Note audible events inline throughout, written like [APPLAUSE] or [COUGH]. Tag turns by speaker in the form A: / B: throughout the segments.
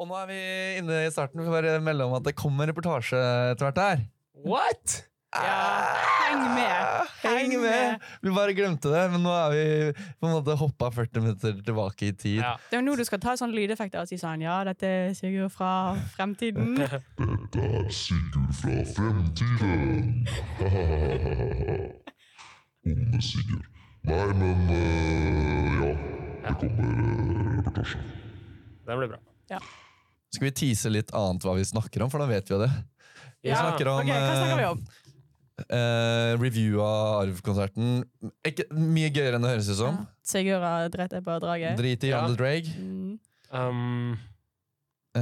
A: Og nå er vi inne i starten. Vi får bare melde om at det kommer reportasje etter hvert her.
B: What?!
C: Ja, heng med.
A: Ah, Heng
C: Heng med.
A: med! Vi bare glemte det, men nå er vi på en måte hoppa 40 minutter tilbake i tid.
B: Ja.
C: Det er jo nå du skal ta sånn lydeffekter og si sånn Ja, dette er Sigurd fra
A: [LAUGHS]
C: fremtiden.
D: Dette er Sigurd fra fremtiden. [LAUGHS] Onde Sigurd. Nei, men eh, ja. Det kommer eh, reportasje.
B: Den ble bra.
A: Skal vi tease litt annet hva vi snakker om, for da vet vi jo det. Vi
B: Ja,
A: snakker om
C: Ok, hva snakker vi om?
A: eh, review av Arv-konserten. Ikke- Mye gøyere enn det høres ut som.
C: Sigurd har drept deg på draget.
A: Drit i
B: Ja.
A: John the Drag.
C: Mm.
B: Um,
A: Eh,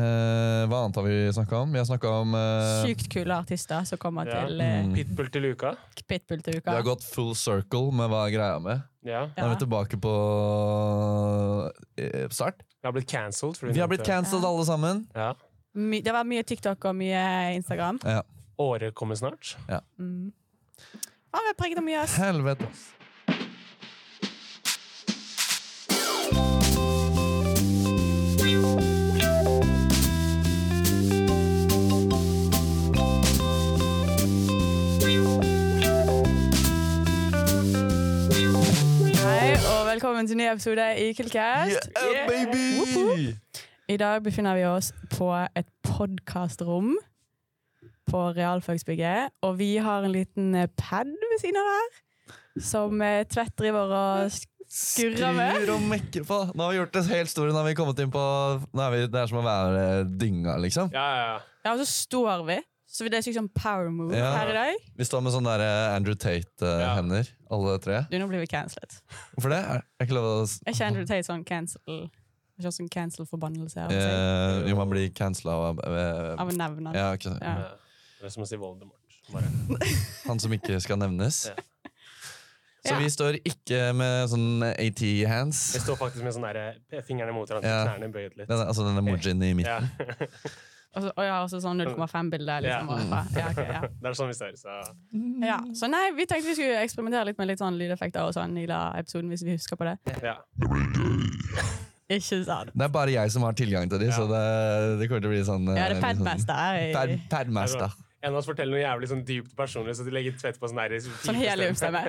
A: hva annet har vi snakka om? Vi har snakka om eh,
C: Sykt kule artister som kommer
B: Ja.
C: til eh,
A: Mm.
B: Pitbull til uka.
C: Pitbull til
A: Vi
C: uka.
A: har gått full circle med hva er greia med.
B: Ja.
A: Nå er vi tilbake på eh, start.
B: Vi har blitt cancelled. fordi
A: Vi har blitt
B: nevnte-
A: cancelled
C: Ja.
A: alle sammen.
B: Ja.
C: My, det har vært mye TikTok og mye Instagram.
A: Ja.
B: Året kommer snart.
C: Mm. Ja, vi har preget av mye, ass.
A: Helvete. ass.
C: Hei, og velkommen til ny episode i
A: Yeah, uh,
C: Killcast. Woop, woop.
A: baby!
C: I dag befinner vi oss på et podkastrom på realfagsbygget. Og vi har en liten eh, pad ved siden av her, som eh, Tvedt driver og sk- skurrer med.
A: Skrur og mekker på. Nå har vi gjort det helt store. Nå har vi kommet inn på nå er vi, Det er som å være dynga, liksom.
B: Ja, ja, ja.
C: Ja, og så står vi. Så det er sykt sånn power move
A: Ja.
C: her i dag.
A: Vi står med sånne der eh, Andrew Tate-hender, alle tre.
C: Du, nå blir vi cancelled.
A: Hvorfor det? Er er ikke lov å s-
C: Er ikke Andrew Tate sånn cancel Ikke sånn cancel-forbannelse av, seg-
A: eh, Jo, man blir cancela av eh,
C: av å nevne han?
A: ja, ikke sant.
C: Ja.
B: Ja. Det er som å si Voldemort. Bare.
A: Han som ikke skal nevnes.
B: Ja.
A: Så
C: Ja.
A: vi står ikke med sånn AT-hands.
B: Jeg står faktisk med sånn der, eh, fingrene mot hverandre,
A: Ja.
B: knærne bøyd litt.
A: Altså den emojien i midten.
B: Ja. [LAUGHS]
C: Og så- og jeg har også sånn 0,5-bilde. Liksom,
B: Ja.
C: overfra. ja, ok,
A: [LAUGHS]
C: ja.
B: Det er sånn vi ser. Så.
C: Ja, så nei, vi tenkte vi skulle eksperimentere litt med litt sånn lydeffekter og sånn i la episoden hvis vi husker på det.
B: Ja.
C: Ikke sant?
A: Det er bare jeg som har tilgang til de,
B: Ja.
A: så det, det kommer til å bli sånn eh,
C: Ja, det er
A: litt sånn-
C: padmaster her.
A: [LAUGHS] Pad,
C: i-
A: padmaster.
B: En av oss forteller noe jævlig sånn dypt personlig, så de legger tvett på sånn der
C: Sånn heliumstemme.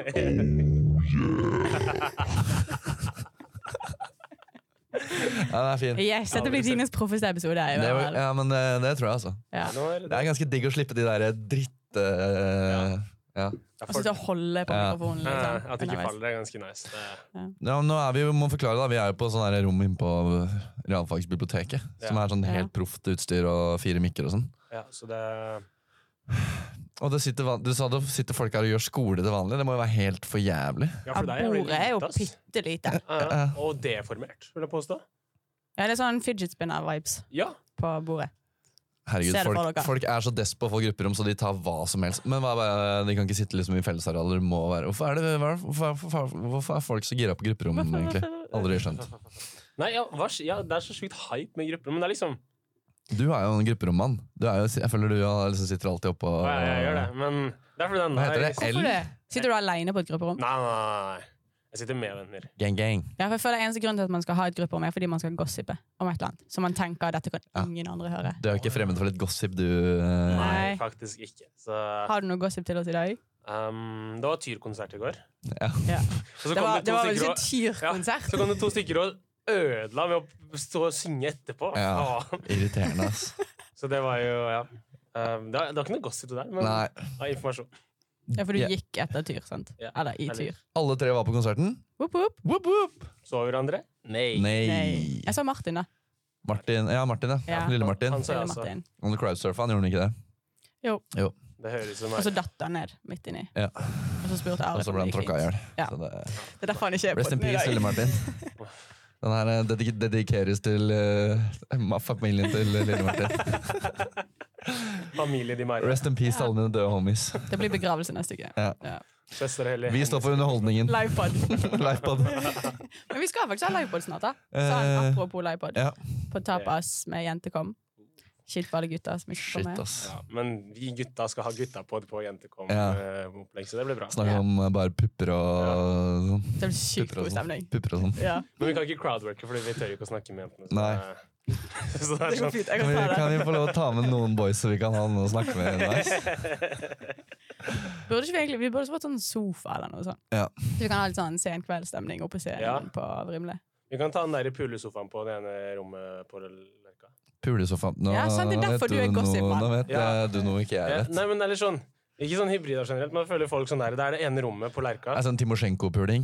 A: Ja, den er fin.
C: Yes, dette blir Tines proffeste episode. i
A: Det,
C: hvert
A: var-
C: fall.
A: ja, men det, det tror jeg, altså.
C: Ja.
B: Nå er det
A: Det er ganske digg å slippe de der dritt... eh, ja.
B: det er
C: Og
B: folk-
C: sitte og holde på
A: Ja.
C: mikrofonen.
B: Ja,
C: Liksom.
B: At det ikke
C: Underveis.
B: faller, er ganske nice. Det,
A: ja, men nå er vi jo, må forklare det, da. Vi er jo på sånn her rom inne på realfagsbiblioteket. Som
B: Ja.
A: er sånn helt proft utstyr og fire mikker og sånn.
B: ja, så det
A: Og det sitter, van- du sa det sitter folk her og gjør skole til vanlig. Det må jo være helt for jævlig.
B: ja,
C: Ja,
B: for deg er det
C: bordet er jo
B: lite, ass.
C: bitte lite.
B: Ja, ja. Og deformert, vil jeg påstå.
C: Ja, det er sånn fidget spinner-vibes
B: Ja.
C: på bordet.
A: Herregud,
C: Ser det for
A: folk,
C: dere.
A: folk er så dess på å få grupperom, så de tar hva som helst. Men hva, er- de kan ikke sitte liksom i fellesarealer. det Må være. Hvorfor, er det, hva- hvorfor, hvorfor, hvorfor er folk så gira på grupperom, egentlig? Aldri skjønt.
B: Nei, ja, hva, sk- ja, det er så sykt hype med grupper, men det er liksom
A: Du er jo en grupperommann. Du er jo, jeg føler du har- liksom sitter alltid oppå
B: Ja, jeg, jeg gjør det, men det er fordi den
A: Hva heter det?
C: Hvorfor det? Sitter du aleine på et grupperom?
B: Nei, nei, nei, nei. Jeg sitter med venner.
A: Gang, gang.
C: Ja, for jeg føler Eneste grunn til at man skal ha et grupperom, er fordi man skal gossipe om et eller annet. Så man tenker dette kan
A: Ja.
C: ingen andre høre.
A: Du er jo ikke fremmed for litt gossip, du. eh.
C: Nei.
B: faktisk ikke. Så
C: Har du noe gossip til oss i dag?
B: um, Det var Tyr-konsert i går.
A: Ja.
C: Ja.
B: Og så
C: Det
B: kom
C: var,
B: det,
C: det
B: to
C: var vel
B: stykker
C: ikke
B: og
C: Tyr-konsert.
B: Så kom det to stykker og ødela med å stå og synge etterpå.
A: Ja.
B: Faen.
A: Irriterende,
C: [LAUGHS]
A: ass.
B: Så det var jo Ja. Um, det, var, det var ikke noe gossip det der, men
A: Nei.
B: ja, informasjon.
C: Ja, for du
A: Ja.
C: gikk etter Tyr, sant?
B: Ja.
C: Eller i
B: Eller-
C: Tyr.
A: Alle tre var på konserten.
C: Whoop, whoop.
A: Woop, woop.
B: Så hverandre? Nei.
A: Nei.
C: Jeg så Martin, da.
A: Martin, ja, Martin, ja.
C: Ja.
A: Lille Martin.
B: Han- Så altså. jeg
C: Lille
B: også.
C: Martin.
A: Han crowdsurfa, han gjorde han ikke det?
B: Det høres ut som
C: Og så datt han ned midt inni.
A: Ja.
C: Og så spurte
A: Og
C: Arif
A: så
C: om
A: ble han
C: det gikk
A: tråkka i hjel.
C: Ja.
A: Så det-
C: fint. Det er derfor han ikke er
A: Rest
C: på
A: in
C: den i
A: peace,
C: dag.
A: Lille Martin. Den her eh, dedik dedikeres til eh, ma- familien til eh, Lille Martin.
B: familie de Maria.
A: Rest in peace til alle mine døde homies.
C: Det blir begravelse
A: [LAUGHS]
C: neste uke.
A: Ja.
B: Søster Helly.
A: Vi står for underholdningen. [LAUGHS]
C: Livepod.
A: Livepod.
C: Men vi skal faktisk ha livepod snart, da.
A: Eh,
C: Sånn, apropos livepod.
A: ja.
C: På Tapas med Jentekom. Shit for alle gutter som ikke
A: Shit,
C: kommer. med.
A: ass.
B: Ja, men vi gutta skal ha gutta på det på Jentekom.
A: Ja.
B: eh, opplegg, Så det blir bra.
A: Snakker om eh, bare pupper og sånn.
C: Det blir sykt
A: Pupper og
C: god
A: sånn.
C: stemning.
A: Pupper og sånn.
C: Ja.
B: Men vi kan ikke crowdworke, Fordi vi tør jo ikke å snakke med jentene. så
A: Nei.
B: det- Så det
C: Det
B: er [LAUGHS]
C: går
B: sånn
C: fint.
A: Kan
C: Jeg kan
A: vi,
C: ta
A: kan
C: det.
A: vi få lov å ta med noen boys så vi kan ha noen å snakke med underveis?
C: Burde ikke vi, egentlig, vi burde fått sånn sofa eller noe sånt.
A: Ja.
C: Så vi kan ha litt sånn sen kveldsstemning oppe på scenen
B: Ja.
C: på Vrimle.
B: Vi kan ta den der i pulesofaen på det ene rommet på Lerka.
A: Pulesofaen. Nå,
C: Ja, sant, det
A: nå
C: er
A: vet
C: derfor du er
A: noe,
C: gossipmann.
A: Nå vet
B: Ja.
A: eh, du noe ikke jeg
B: Eh,
A: vet.
B: Nei, men eller sånn Ikke sånn hybrider generelt, men jeg føler folk sånn der. Det er det ene rommet på Lerka.
A: Det er sånn Timosjenko-puling.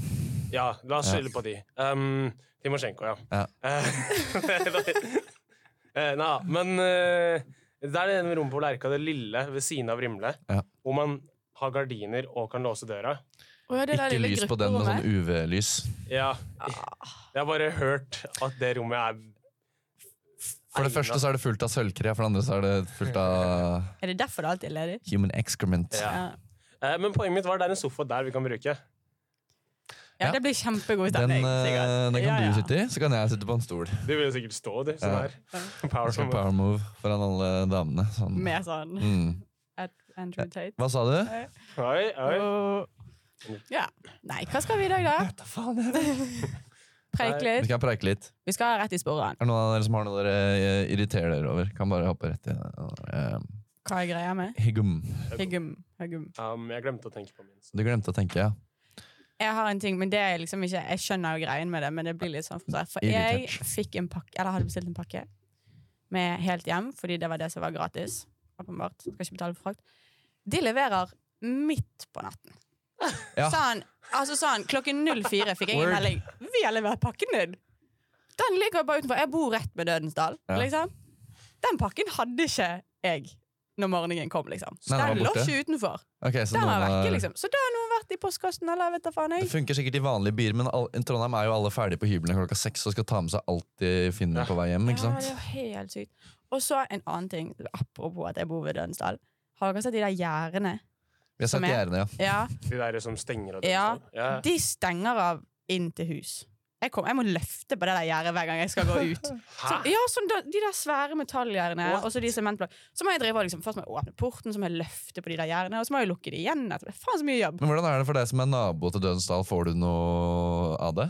B: Ja, la oss skylde på de. Um, Timosjenko, ja.
A: Ja.
B: Eh, [LAUGHS] eh, Nei, men eh, det er det ene rommet på Lerka, det lille ved siden av Rimle,
A: Ja.
B: hvor man har gardiner og kan låse døra.
C: Å ja, det der
A: Ikke
C: lille
A: lys på den med
C: grupperommet.
A: sånn UV-lys.
B: Ja. Jeg har bare hørt at det rommet er
A: For det
B: Egnet.
A: første så er det fullt av sølvkre, for det andre så er det fullt av
C: Er det derfor det alltid er ledig?
A: human excrement.
B: Ja. Eh, Men poenget mitt var det er en sofa der vi kan bruke.
C: Ja,
A: Ja.
C: det blir kjempegod
A: Den,
C: stemning. sikkert.
A: eh, den kan
C: Ja, ja.
A: du sitte i, så kan jeg sitte på en stol.
B: De vil jo sikkert stå, de. Sånn
A: Ja.
B: her. [LAUGHS] Power
A: Jeg skal
B: move.
A: power move foran alle damene. Sånn.
C: Med sånn
A: Mm.
C: at Andrew Tate.
A: Hva sa du?
B: Oi, oi.
C: Og- Ja. Nei, hva skal vi i dag, da?
A: Da faen jeg vet.
C: [LAUGHS] Preik
A: Vi
C: litt.
A: skal preike litt.
C: Vi skal rett i sporene.
A: Er det noen av dere som har noe dere eh, irriterer dere over? Kan bare hoppe rett i det.
C: Hva er greia med?
A: Eh, Higgum.
C: Hyggum. Hyggum.
B: Um, jeg glemte å tenke på min.
A: Du glemte å tenke, ja.
C: Jeg har en ting, men det er liksom ikke Jeg skjønner jo greien med det, men det blir litt sånn frustrert. For jeg
A: Irritert.
C: fikk en pakke, eller hadde bestilt en pakke med helt hjem, fordi det var det som var gratis. Åpenbart. Skal ikke betale for frakt. De leverer midt på natten.
A: Ja.
C: Sånn, altså sånn, klokken 04 fikk jeg en
A: Word.
C: melding. Vi har levert pakken din! Den ligger bare utenfor. Jeg bor rett ved Dødensdal.
A: Ja.
C: Liksom. Den pakken hadde ikke jeg når morgenen kom, liksom. Så
A: Nei, den
C: den
A: var
C: lå
A: borte.
C: ikke utenfor.
A: Ok, så eh,
C: Den var
A: noen
C: vekke,
A: har-
C: liksom. Så da har noen vært i postkassen, eller vet da faen
A: Det
C: jeg.
A: funker sikkert i vanlige byer, men all, i Trondheim er jo alle ferdige på hyblene klokka seks og skal ta med seg alt de finner
B: Ja.
A: på vei hjem. ikke
C: Ja,
A: sant?
C: det er jo helt sykt. Og så en annen ting, apropos at jeg bor ved Dønsdal. Har dere sett de der gjerdene?
A: Vi har
C: som
A: sett
C: er-
A: gjerdene, ja.
C: Ja,
B: De der som stenger av
C: Ja.
B: døren. Ja.
C: de stenger av inn til hus. Jeg, kom, jeg må løfte på det der gjerdet hver gang jeg skal gå
A: [LAUGHS]
C: ut. Så,
B: Hæ?
C: ja, sånn, da- De der svære metallgjerdene
B: What?
C: og så de sementblokkene. Så må jeg drive og liksom, først må jeg åpne porten, så må jeg løfte på de der gjerdene, og så må jeg lukke de igjen. etterpå. Faen så mye jobb.
A: Men hvordan er det for deg som er nabo til Dødensdal? Får du noe av det?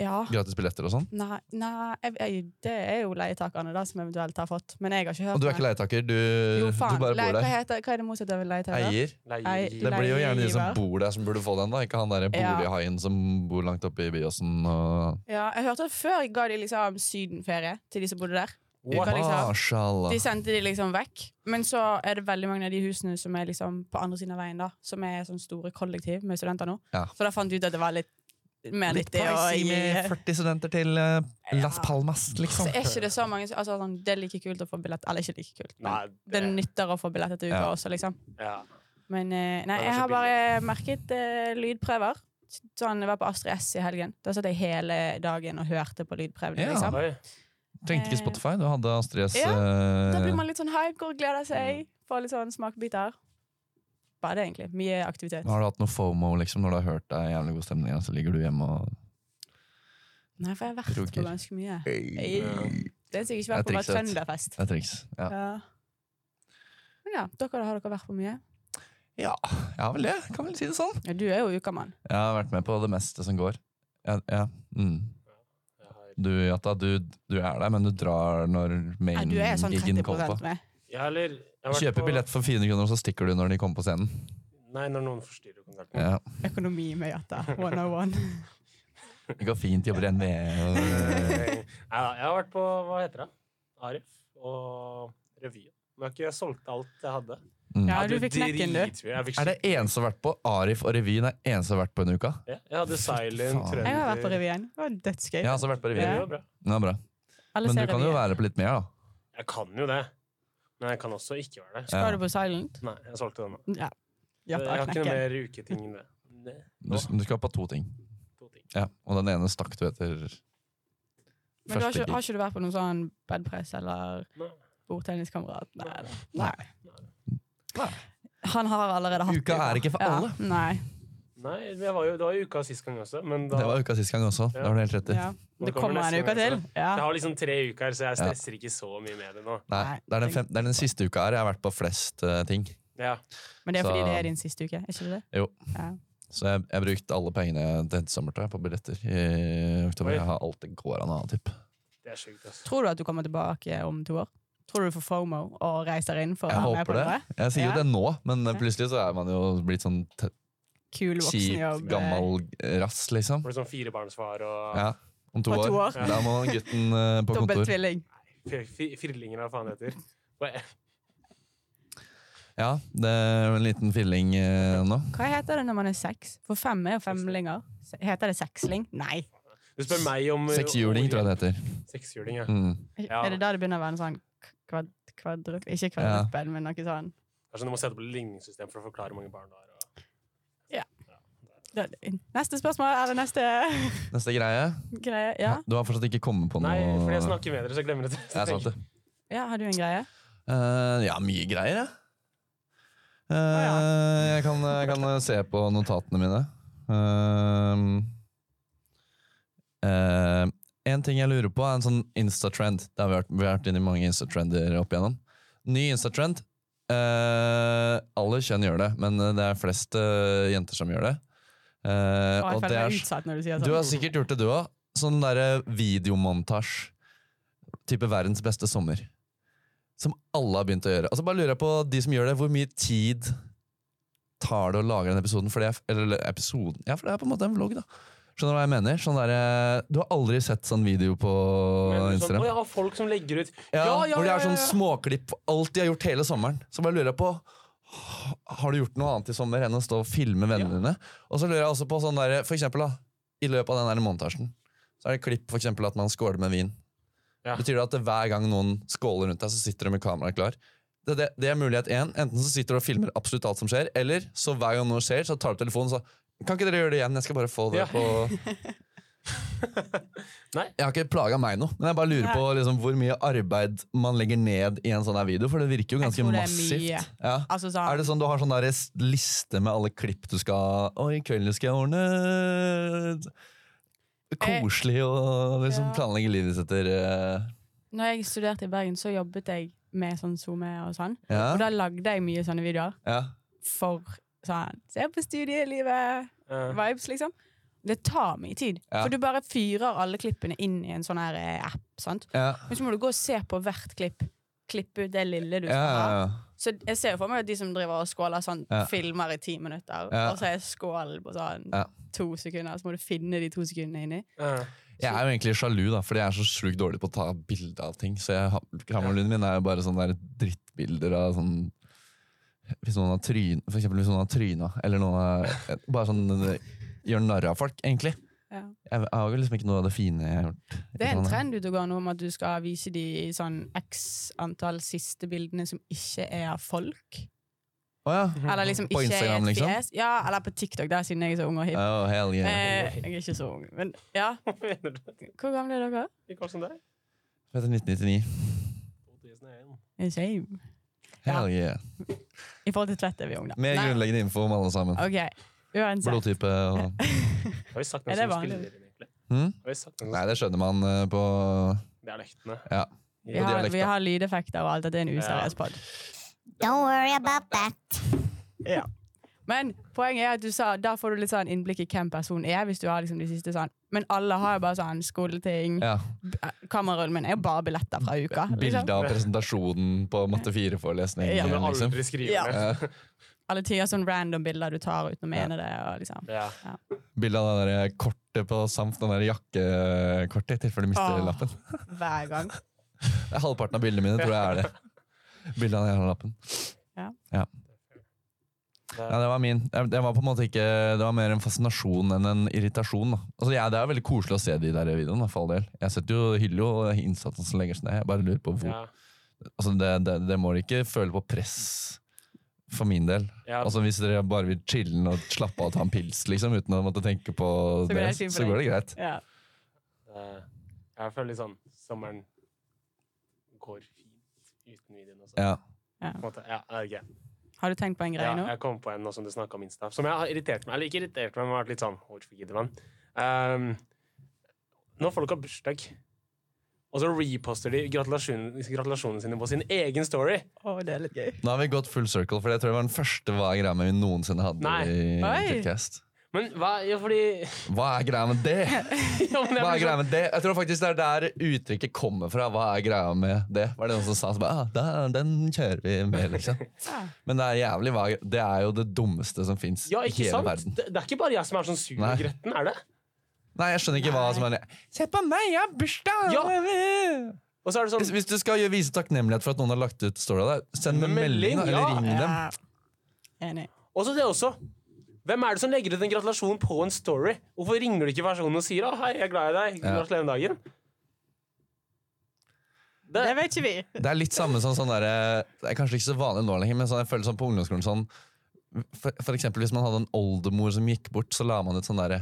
C: Ja.
A: Gratis billetter og sånn?
C: Nei, nei jeg, jeg, det er jo leietakerne da som eventuelt har fått, men jeg har ikke hørt
A: Og du er ikke
C: noe.
A: leietaker, du,
C: Jo, faen.
A: du bare
C: Leie-
A: bor
C: hva,
A: der.
C: heter, hva er det motsatte av leietaker?
A: Eier.
C: Nei,
B: Leier.
A: Det blir jo gjerne de som
C: Leiegiver.
A: bor der, som burde få den, da. Ikke han derre
C: Ja.
A: bolighaien som bor langt oppe i Byåsen og
C: Ja, jeg hørte at før ga de liksom sydenferie til de som bodde der.
B: What?
C: Hva liksom?
A: Mashallah.
C: De sendte de liksom vekk. Men så er det veldig mange av de husene som er liksom på andre siden av veien, da. Som er sånn store kollektiv med studenter nå.
A: Ja.
C: Så da fant de ut at det var litt mer
A: Litt
C: nyttig å
A: pricey
C: gi [LAUGHS]
A: med 40 studenter til eh, Las
C: Ja.
A: Palmas,
C: Så
A: liksom.
C: er ikke det så mange som- altså, sånn, Det er like kult å få billett Eller ikke like kult. Men
B: Nei,
C: det nytter å få billetter til uka
A: Ja.
C: også, liksom.
B: ja.
C: Men eh, nei,
B: Det er
C: jeg
B: så
C: har bare merket eh, lydprøver. Sånn, Jeg var på Astrid S i helgen. Da satt jeg hele dagen og hørte på lydprøvene.
A: Ja.
C: liksom.
B: Oi.
A: Trengte ikke Spotify, du hadde Astrid S.
C: Ja,
A: eh,
C: Da blir man litt sånn hype, går og gleder seg. Får litt sånn smakebiter. Bare det, egentlig. Mye aktivitet.
A: Har du hatt noe FOMO liksom, når du har hørt deg i jævlig god stemning, og så ligger du hjemme og
C: Nei, for jeg har vært på
A: Kroker.
C: ganske mye.
A: Det
C: Jeg, det er sikkert ikke
A: Jeg
C: vært på bare
A: trikset.
C: Trønderfest.
A: er triks. Ja.
C: Ja. Men ja, dere har dere vært på mye.
A: ja, jeg har vel det. Kan vel si det sånn.
C: Ja, du er jo ukamann.
A: Jeg har vært med på det meste som går. Ja, ja. Mm.
B: Jeg har-
A: Du, Jata, du, du er der, men du drar når
C: Ja, du er sånn
A: main-giggen
C: 30
A: kommer på.
C: med.
B: Ja, eller jeg har vært
A: Kjøper
B: på-
A: billett for 400 kroner, og så stikker du når de kommer på scenen.
B: Nei, når noen forstyrrer konserten.
A: Ja.
C: Økonomi med Jata
A: [LAUGHS]
C: 101.
A: Det går fint, jobber i E.
B: [LAUGHS]
A: NVE. og-
B: Nei, da, Eh, jeg har vært på Hva heter det? Arif og revyen. Men jeg har ikke solgt alt jeg hadde.
A: Mm.
C: Ja,
B: Jeg
C: du
B: hadde
C: fikk knekken, du.
B: dritmye. Jeg fikk
A: Er det eneste jeg har vært på? Arif og revyen er eneste jeg har vært på en uke.
B: Ja, jeg hadde Silent
A: faen.
B: Trønder.
C: Jeg har vært på revyen. Det var dødsgøy.
A: Jeg har også vært på
B: Det
A: revyen.
B: var bra.
A: Ja, bra.
C: Alle
A: Men du
C: ser
A: kan jo
C: revyen.
A: være på litt mer, da.
B: Jeg kan jo det. Men jeg kan også ikke være det.
C: Skal du på Silent?
B: Nei, jeg solgte den nå.
C: Ja.
B: Jeg
C: Jata
B: har ikke noe
C: knekken.
B: mer uketing enn det. det.
A: Du,
B: Nå,
A: du skal på to ting.
B: to ting.
A: Ja, og den ene stakk du etter
C: Men du har
A: første
C: ikke,
A: gig.
C: har ikke du vært på noen sånn bedpress eller
B: Nei.
C: bordtenniskamerat? Nei. da.
A: Nei. Nei.
C: Han har allerede hatt
A: Uka er ikke for alle.
C: Ja, nei.
B: Nei, jeg var jo, det var jo uka sist gang også, men da
A: Det var uka sist gang også. Det har du helt rett i.
C: Ja. Det
B: kommer
C: kommer en
B: neste
C: uke
B: gang,
C: til. Ja.
B: Jeg har liksom tre uker, så jeg stresser ikke så mye med det nå.
A: Nei,
C: Nei,
A: det er, den fem, det er den siste uka her jeg har vært på flest eh, ting.
B: Ja.
C: Men det er fordi
A: Så-
C: det er din siste uke, er ikke det det?
A: Så jeg jeg har brukt alle pengene til sommertid på billetter i oktober.
B: Oi.
A: Jeg har alt det går an å ha, typ.
B: Det Det er sjukt, altså.
C: Tror du at du kommer tilbake om to år? Tror du du får fomo og reiser inn for å
A: Jeg
C: være med
A: håper
C: på
A: det.
C: noe?
A: Jeg sier jo
C: Ja.
A: det nå, men eh, plutselig så er man jo blitt sånn t-
C: Kul eh,
A: kjip,
C: voksenjobb.
A: gammel rass, liksom.
B: Blir sånn firebarnsfar og
A: Ja, om to
C: På to
A: år.
C: år.
A: Da må man gutten
C: [LAUGHS]
A: eh, på
C: Dobbelt
A: kontor.
C: tvilling.
B: fir- fir- firlinger, hva faen det heter. Bare-
A: Ja, det er en liten filling eh, nå.
C: Hva heter det når man er seks? For fem er jo femlinger. Se- Heter det seksling? Nei.
B: Du spør meg om
A: Sekshjuling, tror jeg det heter.
B: Sekshjuling, ja.
A: Mm.
B: Ja.
C: Er det da det begynner å være en sånn kvad, kvadrup... Ikke kvadruppel, men noe sånn.
B: Kanskje du må sette opp et ligningssystem for å forklare hvor mange barn du har. og-
C: Da- Neste spørsmål, eller neste [LAUGHS]
A: Neste greie.
C: greie? Ja,
A: Du har fortsatt ikke kommet på noe?
B: Nei, fordi jeg snakker med dere, så jeg glemmer det.
A: Jeg sa det.
C: ja har du en greie?
A: Eh, ja, mye greier, jeg. Eh, jeg, kan, jeg kan eh, se på notatene mine. Eh, eh, en ting jeg lurer på, er en sånn Insta-trend. Det har vi vært, vi har vært inne i mange Insta-trender opp igjennom. Ny Insta-trend. Eh, alle kjønn gjør det, men eh, det er flest eh, jenter som gjør det. Eh,
C: Å, jeg
A: og det
C: føler
A: er
C: meg
A: s-
C: utsatt når du sier
A: du
C: sånn.
A: har sikkert gjort det, du òg. Sånn derre videomontasje. Type verdens beste sommer. Som alle har begynt å gjøre. Altså Bare lurer jeg på de som gjør det, hvor mye tid tar det å lage den episoden? For det er, eller episoden Ja, for det er på en måte en vlogg, da. Skjønner du hva jeg mener? Sånn derre- du har aldri sett sånn video på
B: [LAUGHS] Men sånn,
A: Instagram?
B: å, jeg har folk som legger ut
A: Ja,
B: Ja, ja,
A: hvor de
B: ja,
A: har sånn
B: ja, ja.
A: småklipp på alt de har gjort hele sommeren. Så bare lurer jeg på Har du gjort noe annet i sommer enn å stå og filme vennene dine? Og så lurer jeg også på sånn der, for eksempel, da, i løpet av den der montasjen, så er det klipp for eksempel at man skåler med vin.
B: Ja.
A: Betyr det at det, hver gang noen skåler rundt deg, så sitter de med kameraet klar? Det, det, det er mulighet én. Enten så sitter du og filmer absolutt alt som skjer, eller så hver gang noe skjer, så tar du telefonen og så Kan ikke dere gjøre det igjen? Jeg skal bare få det
B: Ja.
A: på
B: Nei.
A: Jeg har ikke plaga meg noe, men jeg bare lurer
C: Nei.
A: på liksom, hvor mye arbeid man legger ned i en sånn her video, for det virker jo
C: Jeg
A: ganske
C: tror det er
A: massivt.
C: mye.
A: Ja.
C: Altså sånn,
A: Er det sånn du har sånn der s- liste med alle klipp du skal Og i kveld skal jeg ordne Koselig og liksom
C: Eh, ja.
A: planlegge livet sitt etter eh,
C: Når jeg studerte i Bergen, så jobbet jeg med sånn SoMe og sånn. Og
A: Ja.
C: da lagde jeg mye sånne videoer
A: ja.
C: for sånn Se på studielivet!
B: eh,
C: Vibes, liksom. Det tar mye tid.
A: Ja.
C: For du bare fyrer alle klippene inn i en sånn her eh, app. sant?
A: Ja.
C: Men så må du gå og se på hvert klipp. Klippe ut det lille du
A: Ja,
C: skal
A: ja,
C: ha.
A: ja.
C: Så jeg ser jo for meg at de som driver og skåler sånn,
A: Ja.
C: filmer i ti minutter,
A: Ja.
C: og så er skålen på sånn
A: Ja.
C: to sekunder, så må du finne de to sekundene inni.
B: eh.
A: Jeg er jo egentlig sjalu, da, fordi jeg er så sjukt dårlig på å ta bilde av ting. Så jeg har- krangelen min er jo bare sånne der drittbilder av sånn Hvis noen har tryna, for eksempel hvis noen har tryna, eller noen har Bare sånn eh, gjør narr av folk, egentlig.
C: Ja.
A: Jeg har jo liksom ikke noe av det fine jeg har gjort.
C: Det er en
A: Sånn,
C: trend ute og går nå om at du skal vise de sånn x antall siste bildene som ikke er av folk.
A: Å ja.
B: [LAUGHS]
C: Eller liksom
A: Mhm. På
C: ikke
A: Instagram,
C: er et
A: liksom?
C: fjes. Ja, eller på TikTok, der siden jeg er så ung og hipp.
A: Oh, hell yeah.
C: Eh, jeg er ikke så ung, men ja.
B: Hva mener du?
C: Hvor gamle er dere?
B: Ikke alt som deg?
A: Dette er 1999.
B: 2001.
C: Same.
A: Hell yeah.
C: I forhold til Tvedt er vi unge, da.
A: Mer
C: Nei.
A: grunnleggende info om alle sammen.
C: Ok, uansett.
A: Blodtype og
B: Har vi sagt
C: Er
B: hvem
C: det
B: som
C: vanlig?
B: spiller inn, egentlig?
A: Hm?
B: Har vi sagt hvem
A: Nei,
B: som
A: det skjønner man eh, på
B: dialektene?
A: Ja.
C: Vi
A: på
C: har,
A: dialekt,
C: vi
A: da.
C: har lydeffekter og alt, at det er en useriøs pod.
E: Don't worry about that.
C: Men poenget er at du sa, da får du litt sånn innblikk i hvem personen er, hvis du har liksom de siste sånn. Men alle har jo bare sånn skoleting.
A: ja,
C: Kamerarullen min er jo bare billetter fra uka. Liksom.
A: bilde av presentasjonen på matte 4-forelesning.
C: Ja.
B: Kan du
A: Liksom.
B: aldri skrive
C: Ja.
B: ned?
A: Ja.
C: Alle tider sånn random bilder du tar uten å mene det. Og liksom.
B: Ja.
A: Bilde av det der kortet på samt den der jakkekortet, i tilfelle du mister
C: Åh.
A: lappen. [LAUGHS]
C: Hver gang.
A: Det er halvparten av bildene mine, tror jeg er det. Bildet av den jævla lappen.
C: Ja.
A: Ja. Ja, det var min. Jeg- Det var på en måte ikke Det var mer en fascinasjon enn en irritasjon. Da. Altså, jeg, det er veldig koselig å se de der videoene, da, for all del. Jeg setter jo hyller jo innsatsen som legges ned. Jeg bare lurer på hvor
B: Ja.
A: altså, det, det, det må de ikke føle på press, for min del.
B: Ja.
A: Altså Hvis dere bare vil chille og slappe av og ta en pils liksom, uten å måtte tenke på
C: går det
A: det,
C: helt fint for
A: så
C: deg.
A: går det greit.
C: Ja.
B: Eh, Jeg føler litt sånn sommeren går fint uten videoen også.
A: Ja.
B: På en måte. Ja, det er gøy.
C: Har du tenkt på en greie
B: Ja,
C: nå?
B: jeg kom på en nå som du snakket om Insta, som jeg har irritert meg Eller ikke irritert meg, men vært litt sånn Hvorfor gidder man? Ehm, når folk har bursdag, og så reposter de gratulasjon- gratulasjonene sine på sin egen story
C: Å, det er litt gøy.
A: Nå har vi gått full circle, for det tror jeg var den første hva greia vi noensinne hadde
B: Nei.
A: i
C: Oi.
A: Kidcast.
B: Men hva Ja, fordi [LAUGHS]
A: Hva er greia med [LAUGHS] det?
B: ja, men jeg
A: Hva er
B: blir
A: greia
B: sånn-
A: med det? Jeg tror faktisk det er der uttrykket kommer fra. Hva er greia med det? Var det noen som sa så bare, ah, da- Den kjører vi med, [LAUGHS] liksom.
C: Ja.
A: Men det er jævlig hva Det er jo det dummeste som fins
B: Ja,
A: i hele
B: ikke sant?
A: verden.
B: Det, det er ikke bare jeg som er sånn sur
A: Nei.
B: og gretten, er det?
A: Nei, jeg skjønner ikke hva som er Se på meg, jeg har bursdag!
B: Og så er det
A: Hvis,
B: sånn
A: hvis du skal gjøre- vise takknemlighet for at noen har lagt ut story av deg, send dem en
B: Melding,
A: melding, da,
B: ja.
A: eller ring dem.
C: Ja. Enig.
B: Og så det også. Hvem er det som legger ut en gratulasjon på en story? Hvorfor ringer du ikke personen og sier «Å, 'hei, jeg er glad i deg',
A: Ja.
B: gratulerer med dagen? Det,
C: Det vet ikke vi.
A: Det er litt samme som sånn derre Det er kanskje ikke så vanlig nå lenger, men sånn, jeg føler sånn på ungdomsskolen sånn for, for eksempel hvis man hadde en oldemor som gikk bort, så la man ut sånn derre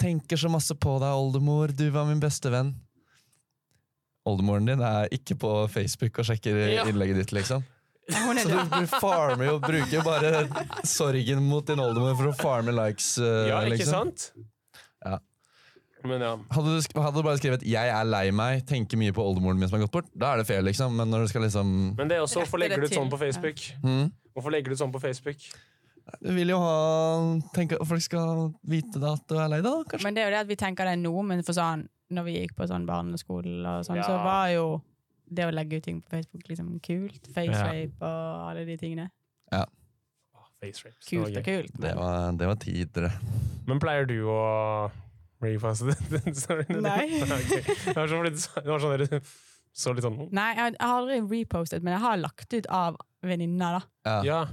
A: Tenker så masse på deg, oldemor, du var min beste venn. Oldemoren din er ikke på Facebook og sjekker
B: Ja.
A: innlegget ditt, liksom.
C: Hun er
A: Så du,
C: død.
A: du farmer jo, bruker jo bare sorgen mot din oldemor for å farme likes. eh,
B: ja, ikke
A: liksom.
B: sant?
A: Ja.
B: Men ja.
A: Hadde du, sk- hadde du bare skrevet 'jeg er lei meg', tenker mye på oldemoren min som har gått bort, da er det fair, liksom. Men når du skal liksom
B: Men det er også
C: Retter
B: Hvorfor legger du
C: det
B: ut sånn
C: til,
B: på Facebook?
A: hm,
B: Hvorfor legger du ut sånn på Facebook?
A: Du vil jo ha tenk, at Folk skal vite da at du er lei deg, da, kanskje.
C: Men det er jo det at vi tenker det nå, men for sånn, når vi gikk på sånn barneskole og sånn, så
B: Ja.
C: var jo det å legge ut ting på Facebook liksom kult. Facerape og alle de tingene.
B: Åh, Face rapes. det var
C: Kult og
B: gøy.
C: kult.
A: Det var, det var tidligere.
B: Men pleier du å reposte den storyen?
C: Nei.
B: [LAUGHS] Ok. Det var sånn fordi du sa- det var sånn dere så litt sånn
C: Nei, jeg har aldri repostet, men jeg har lagt ut av venninner,
A: Ja.
C: da.
B: Ja.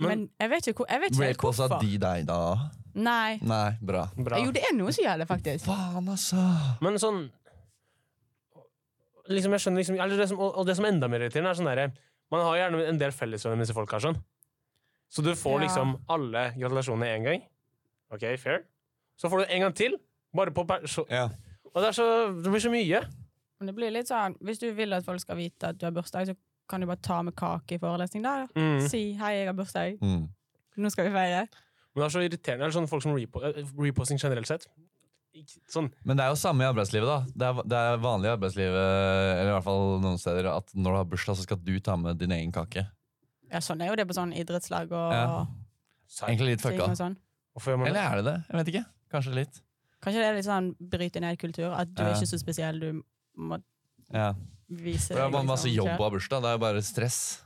B: Men-
C: Men jeg vet ikke, hvor, jeg vet ikke helt
A: Rape også
C: hvorfor.
A: de deg, da.
C: Nei.
A: Nei, bra.
B: Bra.
C: Jo, det er noen som gjør det, faktisk.
A: Faen, altså!
B: Men sånn liksom jeg skjønner liksom, eller det som, og, og det som er enda mer irriterende, er sånn derre Man har gjerne en del fellesvenner med disse folka. Sånn. Så du får
C: Ja.
B: liksom alle gratulasjonene én gang. OK, fair. Så får du en gang til. Bare på perso...
A: Ja.
B: Og det, er så, det blir så mye.
C: Men det blir litt sånn, hvis du vil at folk skal vite at du har bursdag, så kan du bare ta med kake i forelesning da.
B: Mm.
C: Si, hei, jeg har bursdag.
A: Mm.
C: Nå skal vi feire.
B: Men det er så irriterende. Eller sånn folk som repo, eh, reposting generelt sett. Ikke- Sånn
A: Men det er jo samme i arbeidslivet, da. Det er, det er vanlig i arbeidslivet, eller i hvert fall noen steder, at når du har bursdag, så skal du ta med din egen kake.
C: Ja, sånn er jo det på sånn idrettslag og
A: Ja.
B: Serr,
A: Egentlig litt
C: ting
A: fucka.
C: og sånn.
B: Hvorfor gjør man
A: Eller
B: det?
A: er det det? Jeg vet ikke. Kanskje litt.
C: Kanskje det er litt sånn bryte ned kultur, at du
A: Ja.
C: er ikke så spesiell, du må
A: Ja.
C: vise
A: For det er bare
C: liksom,
B: altså
A: masse jobb
C: selv.
A: av bursdag. Det er bare stress.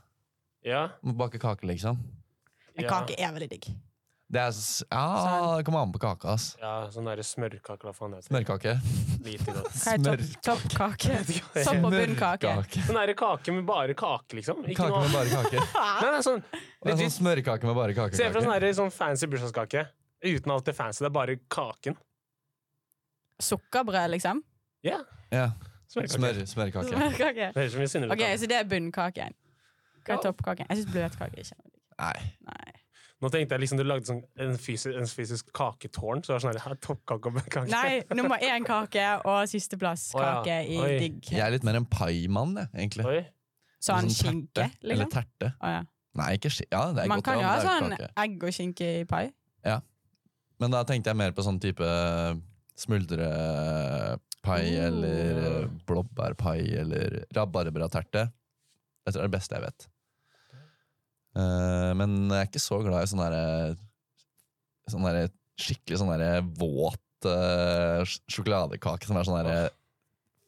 B: Ja.
A: Må bake kake, liksom.
C: Men
B: ja.
C: kake er veldig digg.
A: Det er s-
C: Sånn.
A: Ja, det kommer an på kaka, ass.
B: Ja, sånn derre smørkake, hva faen heter det?
A: Smørkake.
B: Lite
A: [LAUGHS]
B: godt.
C: Hva er topp-
B: [LAUGHS]
C: toppkake? Topp- og bunnkake.
A: Smørkake.
B: Sånn derre kake med bare kake, liksom. Ikke
A: Kake
B: noe
A: med
B: annet.
A: bare
C: [LAUGHS]
A: kake.
B: Nei, nei, sånn
A: Det er sånn smørkake med bare
B: Se for deg sånn,
A: kakekake.
B: her, sånn fancy bursdagskake. Uten alt det fancy. Det er bare kaken.
C: Sukkerbrød, liksom?
B: Ja.
A: Ja.
B: sånn Smørkake.
A: Smør, smørkake.
C: [LAUGHS] Kake.
B: Det høres ut som vi synder
C: Ok,
B: ut av det.
C: så det er bunnkaken. Hva
B: Ja.
C: er toppkaken? Jeg syns bløtkake er kjempedigg.
A: Nei.
C: Nei.
B: Nå tenkte jeg liksom du lagde sånn, en, fysisk, en fysisk kaketårn. Så det er sånn her, her, toppkake og kake.
C: Nei, nummer én kake og sisteplass
B: Å ja.
C: kake i
B: Oi.
C: digg.
A: Jeg er litt mer en paimann, jeg, egentlig.
B: Oi.
C: Sånn
A: Sånn
C: skinke,
A: terte, Eller
C: liksom.
A: terte.
C: Å, ja.
A: Nei, ikke skinke. Ja, det er
C: Man
A: godt,
C: kan
A: ja,
C: jo ha
A: men det er jo
C: sånn
A: kake.
C: egg og skinke i pai.
A: Men da tenkte jeg mer på sånn type smuldrepai
C: Oh.
A: eller eh, blåbærpai eller rabarbraterte. Jeg tror det er det beste jeg vet. Eh, men jeg er ikke så glad i sånn derre sånn derre skikkelig sånn derre våt eh, sj- sjokoladekake som er sånn derre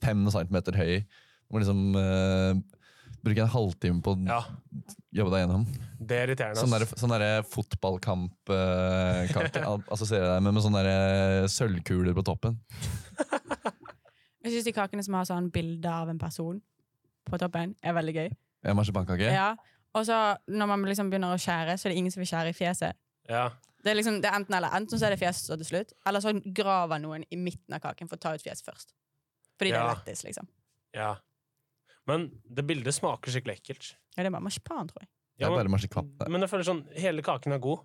A: fem centimeter høy. Du må liksom eh, bruke en halvtime på å
B: Ja,
A: jobbe deg gjennom.
B: det er irriterende.
A: Sånn
B: ass.
A: der, sånn der
B: [LAUGHS]
A: fotballkampkake al- assosierer jeg deg med, med sånne der sølvkuler på toppen.
C: Jeg syns de kakene som har sånn bilde av en person på toppen, er veldig gøy.
A: En marsipankake.
C: Ja. Og så når man liksom begynner å skjære, så er det ingen som vil skjære i fjeset.
B: Ja.
C: Det er liksom, det er enten eller. Enten så er det fjeset som står til slutt, eller så graver noen i midten av kaken for å ta ut fjeset først. Fordi det er
B: Ja.
C: lettest, liksom.
B: ja. Men det bildet smaker skikkelig ekkelt.
C: Ja, det er bare marsipan, tror jeg.
A: Det
B: Ja,
A: er bare
B: men,
A: marsipan.
B: men jeg føler sånn, hele kaken er god,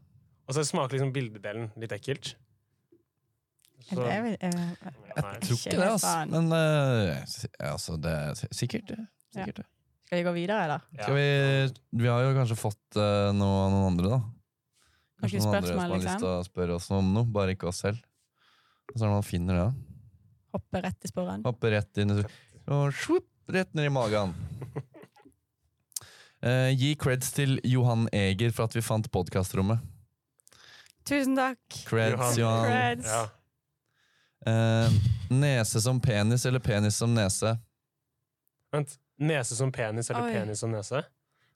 B: og så smaker liksom bildedelen litt ekkelt. Så,
C: Det
B: nei,
C: er, vel- eh,
A: Jeg tror ikke det, altså.
C: Marsipan.
A: Men eh, si- altså, det er si- sikkert det.
C: Ja.
A: Sikkert det.
C: skal vi gå videre, eller?
B: ja.
A: Skal vi, vi har jo kanskje fått eh, noe av noen andre, da. Kanskje noen andre som
C: Noen spørsmål,
A: har lyst til
C: liksom?
A: å spørre oss om noe, bare ikke oss selv. Og så er det man finner det, da.
C: Hoppe rett i sporen.
A: Hoppe rett inn i og svupp, rett ned i magen. Eh, gi creds til Johan Eger for at vi fant podkastrommet.
C: Tusen takk.
A: Creds,
B: Johan.
A: Johan.
C: Creds.
B: Ja.
A: Eh, nese som penis eller penis som nese?
B: Vent. Nese som penis eller
C: Oi.
B: penis som nese?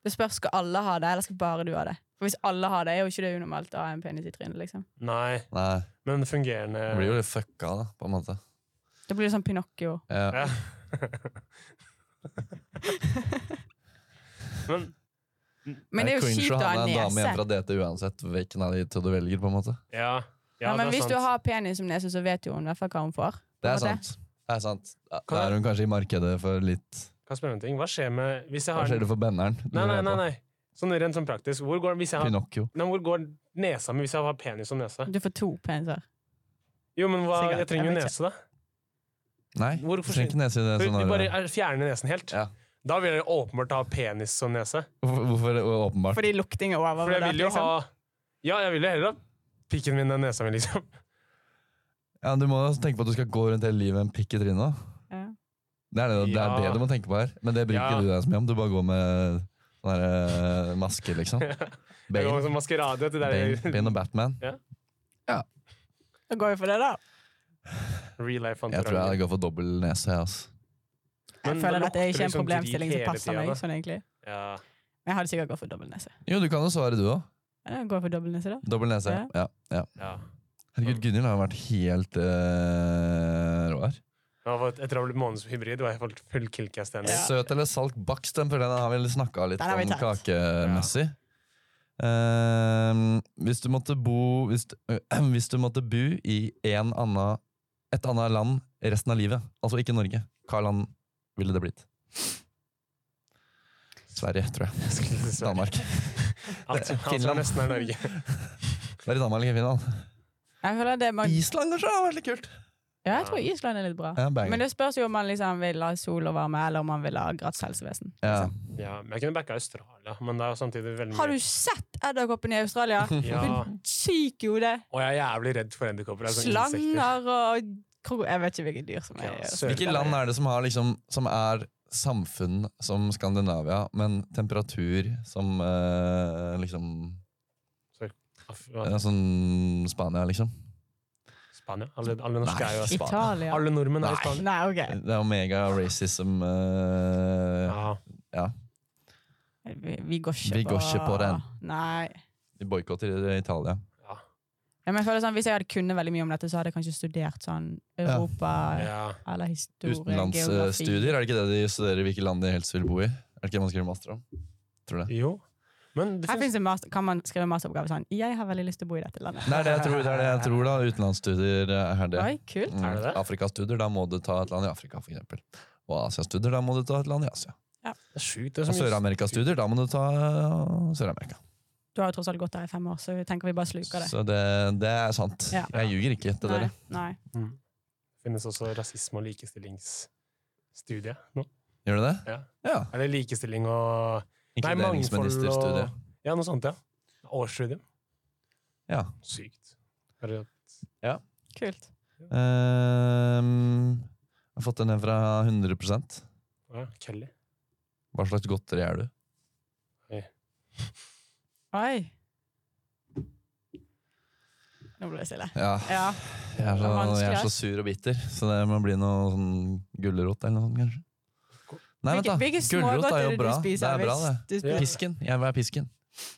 C: Det spørs skal alle ha det, eller skal bare du ha det. For Hvis alle har det, er jo ikke det unormalt å ha en penis i trynet. liksom.
B: Nei,
A: Nei,
B: men fungerende
A: det blir jo litt fucka, da, på en måte.
C: Da blir det sånn Pinocchio.
A: Ja.
C: [LAUGHS]
B: ja. Men
C: Men det er jo
A: cringe
C: kjipt å ha
A: en dame igjen
C: nese.
A: fra DT uansett hvilken av de to du velger, på en måte.
B: ja. ja
C: Ja, men
B: det er
C: hvis
B: sant.
C: du har penis som nese, så vet jo hun i hvert fall hva hun får.
A: Det er
C: På en måte.
A: sant. Det er sant. Ja,
B: Kan
A: Da
B: jeg-
A: er hun kanskje i markedet for litt
B: Kan jeg spørre om en ting? Hva skjer med Hvis jeg
A: Hva
B: har
A: skjer det for benneren? Du
B: Nei, nei,
A: lurer
B: nei.
A: på.
B: nei. Sånn rent sånn praktisk. Hvor går, hvis jeg har,
A: Pinocchio.
B: nei, hvor går nesa mi hvis jeg har penis som nese?
C: Du får to peniser.
B: Jo, men hva,
C: Sikkert.
B: jeg trenger jo
C: Jeg vet
B: nese, da.
A: Nei,
B: Hvor
A: du trenger ikke nese i det
B: Du, du bare
A: scenarioet.
B: er- fjerner nesen helt.
A: Ja.
B: Da vil jeg åpenbart ha penis som nese.
A: Hvorfor, hvorfor åpenbart?
C: Fordi lukting er over.
B: For jeg
C: med
B: vil jo
C: det, liksom.
B: ha Ja, jeg vil jo heller ha pikken min enn nesa mi, liksom.
A: Ja, du må tenke på at du skal gå rundt hele livet med en pikk i trynet. da.
C: Ja.
A: Det er det, det, er
B: Ja.
A: det du må tenke på her. Men det bryr ikke
B: Ja.
A: du deg så mye om. Du bare går med sånn her, eh, maske,
B: [LAUGHS]
A: liksom.
B: Jeg går med
A: Bane,
B: sånn maskerade til [LAUGHS]
A: Bane,
B: der
A: Bane og Batman.
C: Da går vi for det, da.
B: real life
A: Jeg tror jeg går for dobbel nese. jeg, altså. ass.
C: Jeg
B: Men-
C: føler
B: men
C: at det er
B: lukter
C: ikke en
B: liksom
C: problemstilling
B: drit hele
C: som passer
B: tida,
C: meg.
B: da?
C: sånn egentlig.
B: Ja.
C: Men jeg hadde sikkert gått for dobbel nese.
A: Jo, du kan jo svare, du òg.
C: Ja, da går jeg for dobbel nese, da.
A: Dobbel nese.
C: Ja.
A: Ja. Ja.
B: ja.
A: Herregud, Gunhild har vært helt eh, rå her.
B: Jeg har fått- Etter å ha blitt månedens hybrid var jeg fått full killcast-enig. [LAUGHS]
C: Ja.
A: Søt eller salt bakst, den føler jeg den har vi snakka litt
C: Den har vi
A: om
C: tatt.
A: kakemessig. Ehm, hvis du måtte bo Hvis, du- [CLEARS THROAT] hvis du måtte bo i en anna, et annet land resten av livet, altså ikke Norge, hva land ville det blitt? Sverige, tror
B: [LAUGHS]
A: jeg. Danmark. Det
B: Alt, alt som
A: Finland.
B: nesten er Norge. [LAUGHS]
A: er i Danmark eller Finland.
C: Jeg føler at det er mange...
A: Island kanskje har vært litt kult.
C: Ja, jeg tror Island er litt bra.
A: Ja, banger.
C: Men det spørs jo om man liksom vil ha sol og varme, eller om man vil ha gratis helsevesen. Liksom.
A: ja.
B: Ja, men jeg kunne backa Australia, men det er jo samtidig veldig
C: Har du sett edderkoppen i
A: [LAUGHS]
C: Australia?
B: Ja.
C: Syk jo det!
B: Og jeg er jævlig redd for edderkopper. det er sånne insekter.
C: Slanger og kro- Jeg vet ikke hvilke dyr som er i
B: Ja,
C: Australia.
B: søren.
A: Hvilke land er det som, har liksom, som er samfunn som Skandinavia, men temperatur som eh, liksom
B: Aff,
A: eh,
B: hva?
A: Sånn Spania, liksom?
B: Spania? Alle, alle norske
A: Nei.
B: er jo
A: Spania.
C: Italia.
B: Alle nordmenn er i
A: Nei.
B: Spania.
C: Nei, OK.
A: Det er omega racism eh,
B: Ja.
C: Vi, vi går ikke
A: Vi går ikke på den.
C: Nei.
A: De boikotter Italia.
C: Ja, men jeg føler sånn, Hvis jeg hadde kunnet veldig mye om dette, så hadde jeg kanskje studert sånn Europa
B: ja.
C: eller historie,
A: eh,
C: geografi.
A: Utenlandsstudier, er det ikke det de studerer hvilke land de helst vil bo i? Er det ikke det man skriver master om? Tror det.
B: Jo. Men det
C: Her
B: finnes
C: finnes en master, kan man skrive masteroppgave sånn 'Jeg har veldig lyst til å bo i dette landet'.
A: Nei, det, jeg tror, det er det jeg tror, da. Utenlandsstudier er det.
C: Oi, kult.
A: Mm.
B: Er det det?
A: Afrikastudier, da må du ta et land i Afrika, for eksempel. Og Asiastudier, da må du ta et land i Asia.
B: det er sjukt. Det er
A: Og
B: så mye-
A: Sør-Amerika-studier, da må du ta eh, Sør-Amerika.
C: Du har jo tross alt gått der i fem år, så jeg tenker vi bare sluker det.
A: Så det, det er sant.
C: Ja.
A: Jeg ljuger ikke til
C: Nei,
A: dere.
C: nei.
B: Mm. Det finnes også rasisme- og likestillingsstudie nå.
A: Gjør du det?
B: Ja.
A: Ja.
B: Er det likestilling og Nei, mangfold og
A: Inkluderingsministerstudiet.
B: Ja, noe sånt, ja. Årsstudium.
A: Ja.
B: Sykt. Er det
C: Kult.
A: Ehm, jeg har fått den ned fra 100 Hva
B: ja, Kelly?
A: slags godteri er du?
C: Oi. Nå ble det stille.
A: Ja.
C: Ja.
A: Jeg, er så,
C: vanskelig,
A: jeg er så
C: ass.
A: sur og bitter, så det må bli noe sånn gulrot eller noe sånt, kanskje. Nei, vent,
C: Hvilke,
A: da.
C: hvilke
A: Gulrot
C: smågodt
A: er
C: er
A: jo
C: det du
A: bra. Det
C: spiser?
A: er bra,
C: hvis du
B: Ja.
C: spiser-
A: Pisken. Jeg vil være pisken.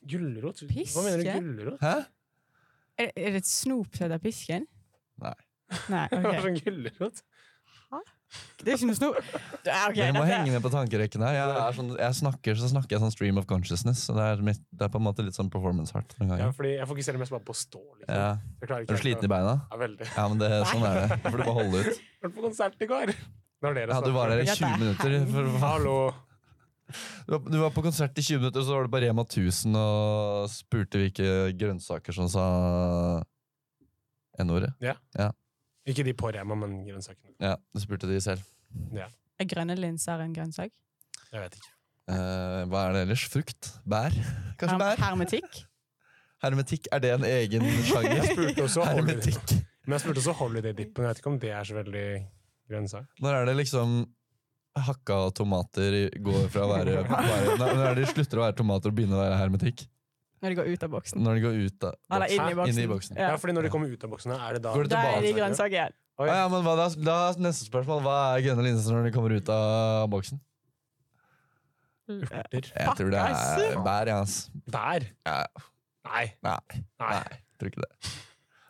B: Gulrot?
C: Piske?
B: Hva mener du gulrot?
A: Hæ?
C: Er, er det et snop som heter pisken?
A: Nei.
B: [LAUGHS]
C: Nei,
B: Hva er
C: [LAUGHS] ok.
B: sånn gulrot?
C: Det er ikke noe snop. Ja, ok,
A: Dere må
C: dette-
A: henge med på tankerekken her. Jeg, er sånn, jeg snakker så snakker jeg sånn stream of consciousness. Så det er, mitt, det er på en måte litt sånn performance heart. noen
B: Ja,
A: ganger.
B: fordi jeg fokuserer mest bare på å stå. liksom.
A: Ja.
B: Jeg klarer
A: Er du sliten i beina?
B: Ja, veldig.
A: Ja, men det, sånn er det. Du får bare holde ut.
B: Jeg var på konsert i går. Når dere
A: Ja, du var der i
C: Ja, det
A: 20
C: er
A: minutter. For, for,
B: Hallo.
A: Du var- du var på konsert i 20 minutter, så var du på Rema 1000 og spurte hvilke grønnsaker som sa N-ordet.
B: Ikke de på Rema, men grønnsakene.
A: Ja, du spurte de selv.
C: Er grønne linser en grønnsak?
B: Jeg vet ikke.
A: Eh, hva er det ellers? Frukt? Bær? Kanskje
C: Herm-
A: bær?
C: Hermetikk?
A: Hermetikk, er det en
B: [LAUGHS]
A: egen
B: Jeg
A: sjanger?
B: spurte også Holiday,
A: Hermetikk.
B: men jeg spurte også Holiday Dippen. Jeg vet ikke om det er så veldig grønnsak.
A: Når er det liksom hakka
C: [LAUGHS]
A: tomater går fra å være, bare, Når er det de slutter å være tomater og begynner å være hermetikk?
C: Når de går ut av boksen.
A: Når de går ut av
C: Eller inn i
A: boksen.
C: boksen.
A: Inn i boksen.
C: Ja.
B: Ja, fordi når de kommer ut av boksene, er det da
A: Går det
C: Da er de
A: tilbake.
C: grønnsaker.
B: Oi.
A: Ah, ja, men hva, da, da er Neste spørsmål. Hva er grønne linser når de kommer ut av boksen? Jeg tror det er
C: Fuck,
A: bær, ja. ass.
B: Bær?
A: Ja,
B: Nei.
A: nei,
B: Nei.
A: nei, tror ikke det.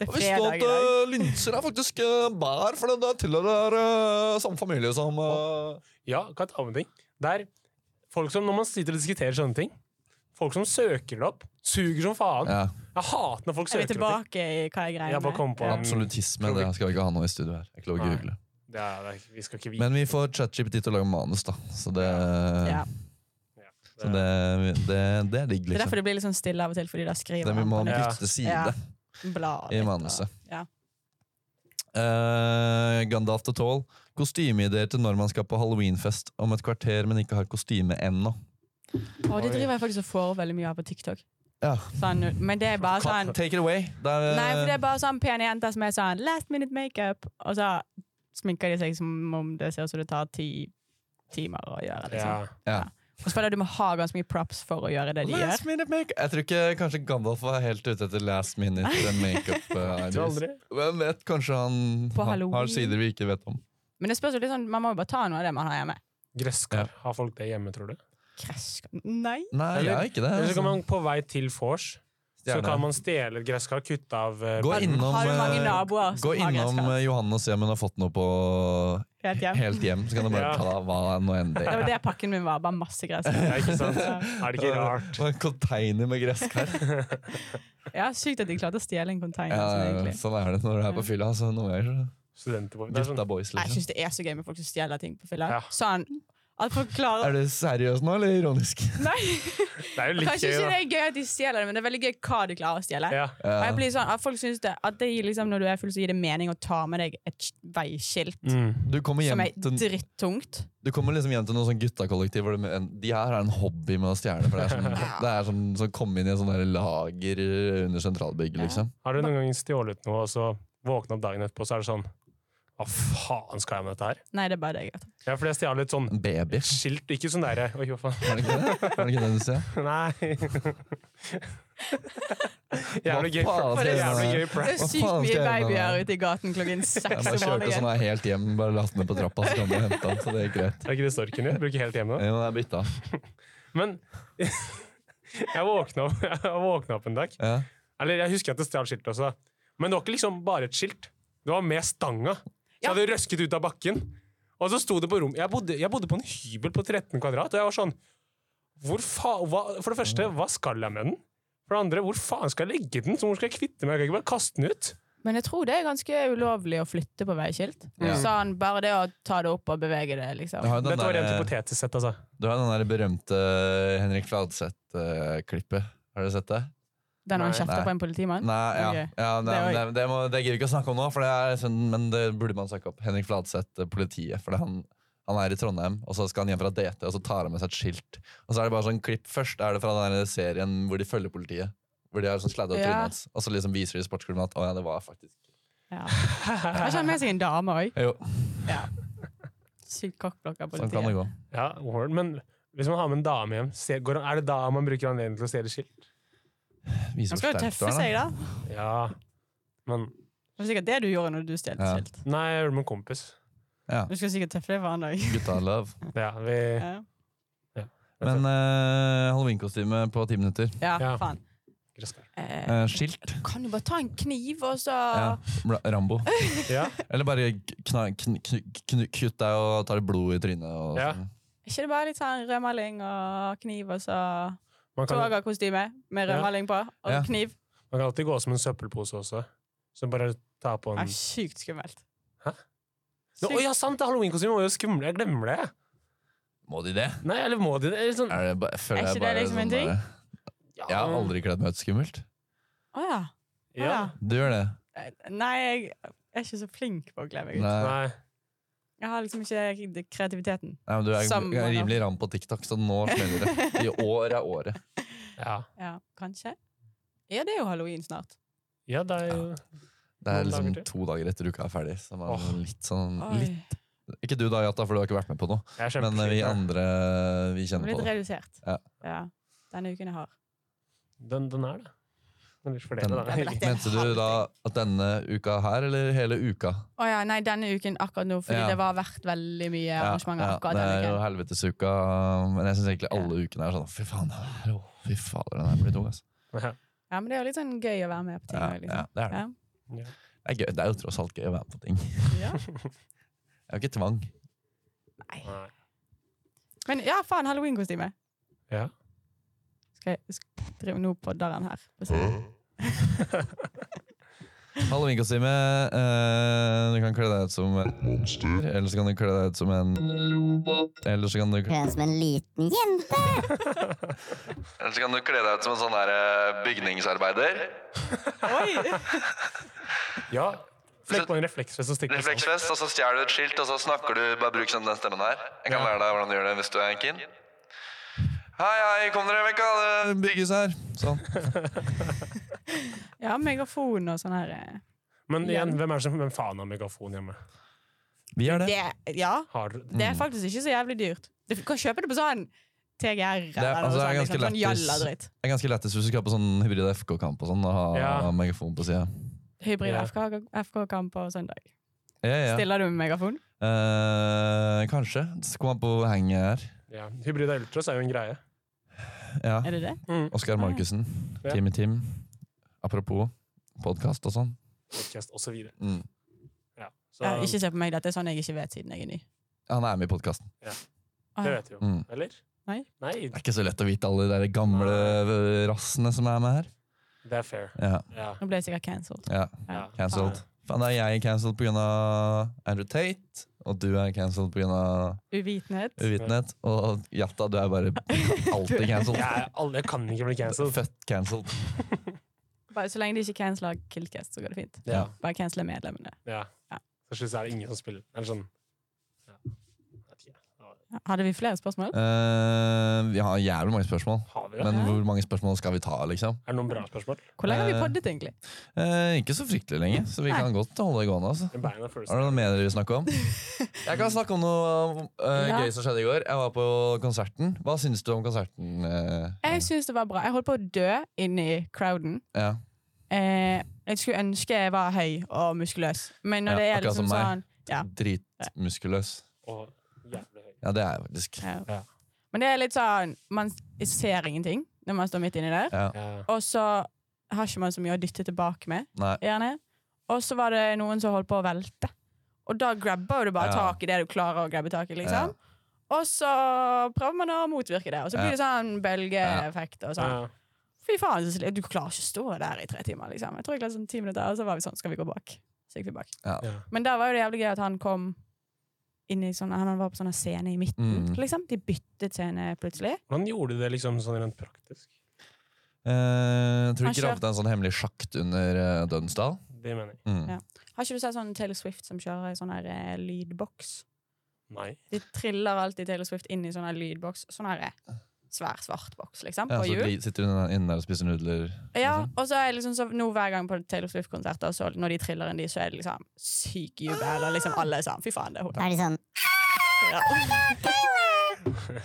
C: Det er
A: Og visste du
C: fredag i
A: at
C: dag.
A: eh, linser er faktisk eh, bær, for det tilhører uh, samme familie som eh,
B: Ja, kan jeg ta med en ting? Det er folk som, når man sitter og diskuterer sånne ting, folk som søker det opp, suger som faen.
A: ja,
B: Jeg hater når folk
C: Er vi
B: søker opp ting.
C: tilbake i hva jeg greier
B: Jeg bare kom på den.
A: Absolutisme. Det skal vi ikke ha nå i studio her. Jeg klarer ikke å
B: Nei.
A: google.
B: Mm. Det er, det er- vi skal ikke vite.
A: Men vi får ChatGPT til å lage manus, da. Så det,
C: Ja.
B: Ja,
A: så det, det, det er digg,
C: Det er
A: liksom.
C: derfor det blir litt sånn stille av og til, fordi da skriver
A: Det vi må
C: han på
B: Ja.
A: bytte side
C: nytt blad.
A: i
C: litt,
A: manuset.
C: og- Ja.
A: Eh, Gandalf the Tall. Kostymeideer til når man skal på halloweenfest om et kvarter, men ikke har kostyme ennå.
C: Og det
B: Oi.
C: driver jeg faktisk og får veldig mye av på TikTok.
A: Ja.
C: Sånn, men det er bare sånn
A: Take it away. Det er,
C: Nei, for det er bare sånn pene jenter som er sånn last minute makeup, og så sminker de seg som om det ser ut som det tar ti timer å gjøre. Liksom.
B: Ja.
A: ja.
C: Og så føler jeg du må ha ganske mye props for å gjøre det de gjør.
A: Last minute make Jeg tror ikke kanskje Gandalf var helt ute etter last minute eh, [LAUGHS]
C: [LAUGHS]
A: makeup. eh,
B: Tror
A: ideas.
B: aldri.
A: Hvem vet? Kanskje han,
C: På
A: han har
C: Halloween.
A: sider vi ikke vet om.
C: Men det spørs jo litt sånn, man må jo bare ta noe av det man har hjemme.
A: Ja.
B: Gresskar. Har folk det hjemme, tror du?
C: Kresk. Nei.
A: Nei,
B: Eller-
A: jeg har ikke det.
B: Eller så kan
A: altså.
B: man på vei til vors, så
A: Stjerne.
B: kan man stjele et gresskar, kutte av eh,
A: Gå
B: pann.
A: innom,
C: Har du mange
A: eh,
C: naboer som
A: Gå
C: har
A: innom
C: gresskar?
A: eh, Johanne og se om hun har fått noe på
C: Helt hjem.
A: helt hjem. Så kan du bare
B: Ja.
A: ta hva nå enn det
C: Det
A: er.
C: var det pakken min var. Bare masse gress.
B: Ja,
A: [LAUGHS]
B: ikke sant? Er det ikke rart?
A: Og En container med gresskar.
C: [LAUGHS] Ja, Sykt at de klarte å stjele en container.
A: Ja,
C: sånn, egentlig.
A: sånn er det når du er på fylla. Altså, noen ganger
B: Studenter på
A: så
B: det er sånn,
A: Gutta boys,
C: Nei, Jeg
A: liksom.
C: syns det er så gøy med folk som stjeler ting på fylla.
B: Ja.
C: Sånn at folk klarer
A: Er du seriøs nå, eller
C: [LAUGHS]
A: ironisk?
C: Nei,
B: Det er jo litt
C: Kanskje
B: gøy,
C: ikke
B: da.
C: det er gøy at de stjeler det, men det er veldig gøy hva de klarer å stjele.
B: Ja.
C: Og
A: Ja.
C: jeg blir sånn, at folk synes det, at det gir liksom, Når du er full, så gir det mening å ta med deg et sk- veiskilt
B: Mm.
A: Du kommer,
C: som
A: hjem
C: er
A: til,
C: drittungt.
A: du kommer liksom hjem til noen sånn guttakollektiv hvor de, de her har en hobby med å stjele. For det er sånn,
B: [LAUGHS]
A: det er sånn, sånn komme inn i en sånn der lager under sentralbygget, liksom.
B: Har du noen gang stjålet noe, og så våkne opp dagen etterpå, så er det sånn Hva faen skal jeg med dette her?
C: Nei, det er bare deg.
B: Ja, fordi jeg stjal litt sånn
A: En baby.
B: skilt, ikke sånn derre Oi, hva faen? [LAUGHS]
A: Var det ikke det, var det, ikke det du sa?
B: Nei.
C: [LAUGHS]
B: Jævlig gøy,
A: faen skal
B: det er
A: jeg
B: jævlig
A: gjøre?
B: gøy
C: Det
B: prank.
C: er
A: Hva
C: sykt
A: faen skal
C: mye
A: jeg med
C: babyer
A: meg?
C: ute i gaten klokken
A: [LAUGHS] Jeg
C: seks
A: bare
C: om
A: kjørte sånn
C: morgenen.
A: her helt hjem, bare lagt den ned på trappa, så kom jeg og henta den. Så det gikk greit.
B: Er ikke det storken din? Bruker helt hjemme. da.
A: Jo, det er bytta.
B: Men [LAUGHS] jeg våkna opp, [LAUGHS] jeg våkna opp en dag.
A: Ja.
B: Eller jeg husker at det stjal skiltet også. da. Men det var ikke liksom bare et skilt. Det var med stanga. Så
C: Ja.
B: hadde det røsket ut av bakken. Og så sto det på rom. Jeg bodde, jeg bodde på en hybel på 13 kvadrat, og jeg var sånn hvor fa hva, For det første, hva skal jeg med den? For det andre, hvor faen skal jeg legge den? Så hvor skal jeg kvitte meg? Jeg kan ikke bare kaste den ut.
C: Men jeg tror det er ganske ulovlig å flytte på veiskilt.
A: Ja.
C: Sånn, bare det å ta det opp og bevege det, liksom.
A: Du har jo den
B: Dette var rent
A: der- eh,
B: hypotetisk sett, altså.
A: du har jo den der berømte eh, Henrik Fladseth-klippet. Har dere sett det?
C: Den har han
B: Nei.
C: kjefta
A: Nei.
C: på en politimann.
A: Nei, ja.
C: Ok.
A: ja nei,
C: Det
A: det,
C: var-
A: det, må, det gidder vi ikke å snakke om nå, for det er, sånn- men det burde man søke opp. Henrik Fladseth, eh, politiet. For det han, han er i Trondheim, og så skal han hjem fra DT, og så tar han med seg et skilt. Og så er det bare sånn klipp først er det fra den der serien hvor de følger politiet. Hvor de har sånn sladda
C: Ja.
A: trynet hans, og så liksom viser de i sportsklubben at å ja, det var faktisk [LAUGHS]
C: Ja. Har ikke han med seg en dame òg?
A: Jo,
C: Ja. Sykt kokkblokka på
A: sånn kan det
C: politiet.
A: gå.
B: Ja, Warren, men hvis man har med en dame hjem, se- går, er det da man bruker anledningen til å stjele skilt?
A: Vise hvor
C: Han skal jo
A: sterk du er,
C: tøffe
A: da.
C: seg, da.
B: Ja, men
C: Det var sikkert det du gjorde når du stjal
A: Ja.
C: skilt.
B: Nei, jeg gjorde det med en kompis.
C: Du skal sikkert tøffe deg for han dag.
A: Gutta love.
B: Ja, vi,
C: Ja.
A: Men uh, halloweenkostyme på ti minutter.
C: ja,
B: Ja.
C: faen. Eh,
A: Eh, skilt.
C: kan du bare ta en kniv, og så
A: Ja. Bra- Rambo.
B: ja.
A: Eller bare kna, kn, kn, kn, kutt deg og tar litt blod i trynet. Og
B: Ja.
A: sånn.
C: Er ikke det bare litt sånn rødmaling og kniv, og så
B: Man kan,
C: togakostyme med rødmaling på, og
A: Ja.
C: kniv?
B: man kan alltid gå som en søppelpose også. Så bare ta
A: Sånn.
B: på
C: Det
B: en
C: er sykt skummelt.
B: Hæ? Nå,
C: Sykt.
B: Å ja, sant! det er Halloweenkostyme var jo skumle. Jeg glemmer det.
A: Må de det?
B: Nei, eller må de det? Eller sånn,
A: Er, det bare, jeg føler
C: Er
A: jeg
C: ikke det
A: bare
C: liksom en
A: sånn
C: ting?
A: der- Jeg har
B: men-
A: aldri kledd meg ut skummelt.
C: Å ja. Å
B: ja.
C: ja.
A: Du gjør det?
C: Eh, Nei, jeg er ikke så flink på å kle meg ut.
A: Nei,
B: Nei.
C: Jeg har liksom ikke kreativiteten.
A: Nei men du er
C: Samme
A: er rimelig ram på TikTok, så nå smeller det. I år er året.
B: Ja.
C: Ja, kanskje. Ja, det er jo halloween snart.
B: ja, det er jo
A: Det er
B: Noen dager
A: liksom
B: til.
A: to dager etter uka er ferdig. Så man
B: Åh.
A: litt sånn litt,
C: Oi,
A: Ikke du da, Jata, for du har ikke vært med på noe.
B: Jeg er
A: Men eh,
B: kjempesliten,
A: vi
B: jeg.
A: andre vi
C: jeg
A: kjenner
C: blir
A: på
C: litt
A: det.
C: redusert.
A: Ja.
C: Ja. Denne uken jeg har.
B: Den, den er det. Den er flere,
A: Den-
B: da.
F: Ja, men det- er
A: Mente du
F: halv
A: da at denne uka her, eller hele uka?
C: Å ja, nei, denne uken akkurat nå, fordi
A: Ja.
C: det var verdt veldig mye arrangementer akkurat
A: det
C: denne
A: er jo
C: uken.
A: helvetesuka, men jeg syns egentlig alle ukene er sånn Fy faen, den her, å, fy fader, den her blir tung, altså.
B: [LAUGHS] Ja.
C: Ja, men det er jo litt sånn gøy å være med på ting.
A: Ja,
C: også,
A: ja,
C: liksom.
A: det, er det.
C: Ja.
A: Det, er gøy. det er jo tross alt gøy å være med på ting.
C: Ja.
A: Jeg har ikke tvang.
B: Nei.
C: Men ja, faen, halloweenkostyme.
B: Ja.
C: Skal jeg sk- drive nå podder han her? på siden.
D: Hæ?
A: Halloweenkostyme. eh, du kan kle deg ut som en
D: Monster.
A: eller så kan du kle deg ut som en Eller så kan du
E: Du er som en liten jente.
A: Eller så kan du kle deg ut som en sånn der eh, bygningsarbeider.
B: ja. Flekk på en refleksvest og stikk på sånn.
A: Refleksvest, og så stjeler du et skilt, og så snakker du Bare bruk sånn den stemmen her. Jeg kan
B: Ja.
A: lære deg hvordan du gjør det hvis du er keen. Hei, hei, kom dere vekk, det bygges her. Sånn.
C: Ja, megafon og sånn her. eh.
B: Men igjen, hvem er det som hvem faen har megafon hjemme?
A: Vi gjør det.
C: Det, ja,
B: Har dere-
A: Mm.
C: det er faktisk ikke så jævlig dyrt. Du kan kjøpe det på sånn TGR
A: er-
C: eller noe
A: altså, det er
C: sånt.
A: ganske
C: Liksom, sånn
A: lættis.
C: jalla-dritt.
A: Det er ganske lettest hvis du skal på sånn hybrid FK-kamp og sånn, og ha
B: Ja.
A: megafon på sida.
C: Hybrid
B: Ja.
C: FK FK-kamp på søndag.
A: Ja, ja.
C: sånn Stiller du med megafon?
A: Eh, kanskje. Så kom han på henget her.
B: Ja. Hybrida Ultras er jo en greie.
A: Ja.
C: Er det det?
B: Mm.
A: Oskar Markussen.
B: Ja.
A: Team i Team. Apropos podkast og sånn.
B: Podcast og så videre.
A: Mm.
B: Ja. Så
C: Ja, ikke se på meg, dette er sånn jeg ikke vet siden jeg er ny.
A: Han er med i podkasten.
C: Å,
B: det
C: ja.
B: vet vi jo.
A: Mm.
B: Eller?
C: Nei.
B: Nei,
A: Det er ikke så lett å vite alle de der gamle eh, rassene som er med her.
B: det er fair.
A: Ja,
B: Ja.
C: Nå ble jeg sikkert cancelled.
A: ja.
B: ja.
A: Cancelled. Faen, da er jeg cancelled pga. Andrew Tate, og du er cancelled pga.
C: Uvitenhet.
A: uvitenhet. Og Jatta, du er
B: [LAUGHS]
A: bare alltid cancelled.
B: Jeg, er alle, jeg kan ikke bli cancelled.
A: Født cancelled.
C: Bare så lenge de ikke canceler Killcast, så går det fint.
B: Ja.
C: Bare canceler medlemmene.
B: Ja.
C: Ja.
B: Til slutt er det ingen som spiller. Eller sånn. Ja. Jeg vet ikke.
C: Hadde vi flere spørsmål?
A: Eh, vi har jævlig mange spørsmål.
B: Har vi det?
A: Men hvor mange spørsmål skal vi ta, liksom?
B: Er det noen bra spørsmål?
C: Hvor lenge har vi
A: Eh,
C: poddet, egentlig?
A: Eh, ikke så fryktelig lenge, så vi
C: Nei.
A: kan godt holde det gående. altså.
B: Bang the first.
A: Har du noe mer dere vil
C: [LAUGHS]
A: snakke om? Jeg kan snakke om noe eh,
C: Ja.
A: gøy som skjedde i går. Jeg var på konserten. Hva syns du om konserten? eh?
C: Jeg syns det var bra. Jeg holdt på å dø inni crowden.
A: ja.
C: Eh, jeg skulle ønske jeg var høy og muskuløs, men når
A: Ja,
C: det er
A: akkurat
C: liksom
A: som meg.
C: sånn ja,
A: Dritmuskuløs.
B: Og jævlig høy.
A: Ja, det er jeg faktisk.
C: ja.
B: Ja.
C: Men det er litt sånn Man ser ingenting når man står midt inni der,
A: Ja.
B: Ja.
C: og så har ikke man så mye å dytte tilbake med.
A: Nei.
C: gjerne. Og så var det noen som holdt på å velte. Og da grabber du bare
A: Ja.
C: tak i det du klarer å grabbe tak i. liksom. Og så prøver man å motvirke det, og så blir
A: Ja.
C: det sånn bølgeeffekt. og sånn.
B: Ja.
C: Fy faen, så sli- Du klarer ikke å stå der i tre timer. liksom. Jeg tror jeg klarte sånn ti minutter, og så var vi sånn, skal vi gå bak? Så gikk vi bak.
A: Ja.
B: Ja.
C: Men da var jo det jævlig gøy at han kom inn i sånn, han var på sånn scene i midten.
A: Mm.
C: liksom. De byttet scene plutselig.
B: Hvordan gjorde du det liksom sånn rent praktisk?
A: Eh, tror du
C: Han
A: ikke rammet en sånn hemmelig sjakt under eh, Dønsdal?
B: Det mener jeg.
A: Mm.
C: Ja. Har ikke du sett sånn Taylor Swift som kjører i sånn her eh, lydboks?
B: Nei.
C: De triller alltid Taylor Swift inn i sånn her lydboks. Sånn her eh, svær, svart boks, liksom.
A: Ja,
C: På
A: så
C: hjul.
A: li- sitter hun inne der og spiser nudler.
C: Ja, og så er det liksom så, nå hver gang på Taylor Swift-konserter, så når de triller inn de, så er det liksom syk jubel. Og liksom alle er sånn Fy faen, det er
E: Da
C: hun.
E: er de sånn
C: Ja.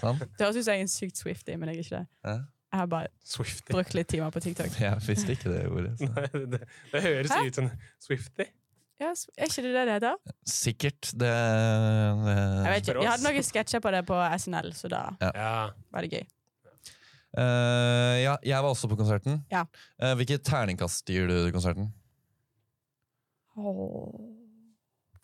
A: Sånn?
C: Det høres ut som jeg er en sykt Swifty, men jeg er ikke det.
A: Ja. [LAUGHS]
C: Jeg har bare [LAUGHS]
B: Swifty.
C: brukt litt timer på TikTok.
A: Jeg visste ikke det ordet. så.
B: Nei, det, det høres
C: Hæ?
B: ut som Swifty.
C: Ja, s- er ikke det det det heter?
A: Sikkert. Det,
C: Jeg
A: det.
C: vet ikke.
B: For oss.
C: Vi hadde noen sketsjer på det på SNL, så da
B: Ja.
C: var det gøy.
A: Eh, ja, jeg var også på konserten.
C: Ja.
A: Eh, hvilket terningkast gir du konserten?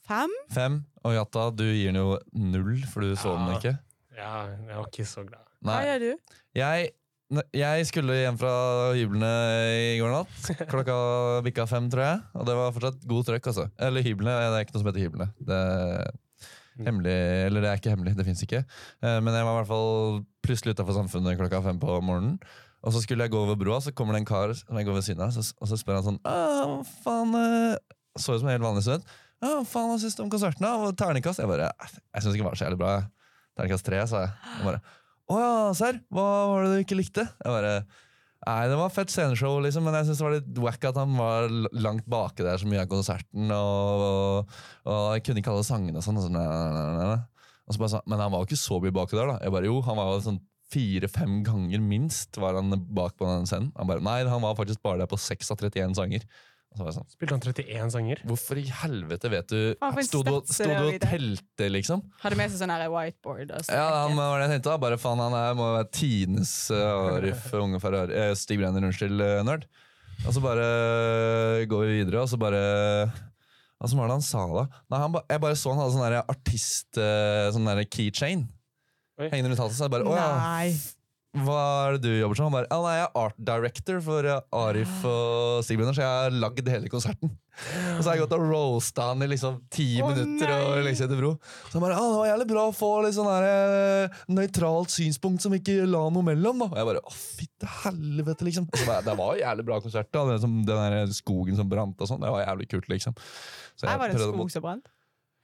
C: Fem?
A: Fem. Og Jatta, du gir den jo null, for du
C: Ah.
A: så den
B: Ja.
A: ikke.
B: ja. Jeg var ikke så glad.
C: Hva
A: Nei.
C: gjør du?
A: Jeg, ne- jeg skulle hjem fra hyblene i går natt. Klokka bikka fem, tror jeg. Og det var fortsatt god trøkk, altså. Eller hyblene. Det er ikke noe som heter hyblene. Det er hemmelig, eller det er ikke hemmelig, det fins ikke. Eh, Men jeg var i hvert fall plutselig utafor Samfunnet klokka fem på morgenen. Og så skulle jeg gå over broa, så kommer det en kar som jeg går ved siden av, så- og så spør han sånn Å, faen eh», Så ut som en helt vanlig student. Å, faen, hva syns du om konserten? da? Og terningkast? Jeg bare Jeg syns ikke det var så jævlig bra. jeg. Terningkast tre, sa jeg. Og bare Å ja, serr? Hva var det du ikke likte? Jeg bare Nei, det var fett sceneshow, liksom, men jeg synes det var litt wack at han var l- langt bake der så mye av konserten, og, og, og jeg kunne ikke alle sangene og sånn. Og så, nei, nei, nei, nei. Og så bare sånn, men han var jo ikke så mye baki der, da. Jeg bare, jo, han var jo sånn fire-fem ganger minst var han bak på den scenen. Han bare, nei, han var faktisk bare der på 6 av 31 sanger. Og så var jeg sånn,
B: Spilte han 31 sanger?
A: Hvorfor i helvete vet du
C: Hva for en
A: Stod du og-
C: stats
A: stod du
C: er
A: og
C: det å vite?
A: telte, liksom?
C: Hadde med seg sånn her whiteboard. Og
A: Ja, han var det jeg tenkte. da. Bare faen, han er, må jo være tidenes eh, Arif, unge Ferrari, eh, Stig Brenner, unnskyld, eh, nerd. Og så bare eh, går vi videre, og så bare Og så var det han sa da? Nei, han, ba- jeg bare så han hadde sånn der artist eh, Sånn der keychain
B: Oi.
A: hengende rundt halsen. Så jeg bare Å ja,
C: Nei.
A: hva er det du jobber som? Han bare Ja, nei, jeg er art director for eh, Arif og Stig Brenner, så jeg har lagd hele konserten. Og så har jeg gått og roasta han i liksom ti
C: Å,
A: minutter og
C: nei.
A: lengst etter bro. Så han bare, ah, det var jævlig bra å få litt sånn her eh, nøytralt synspunkt som ikke la noe mellom, da. Og jeg bare, å fitte helvete, liksom. Og så bare, det var jævlig bra konsert, da. Den, som, den der skogen som brant og sånn, det var jævlig kult, liksom. Så
C: Her var det
A: prøvde å-
C: skog som brant.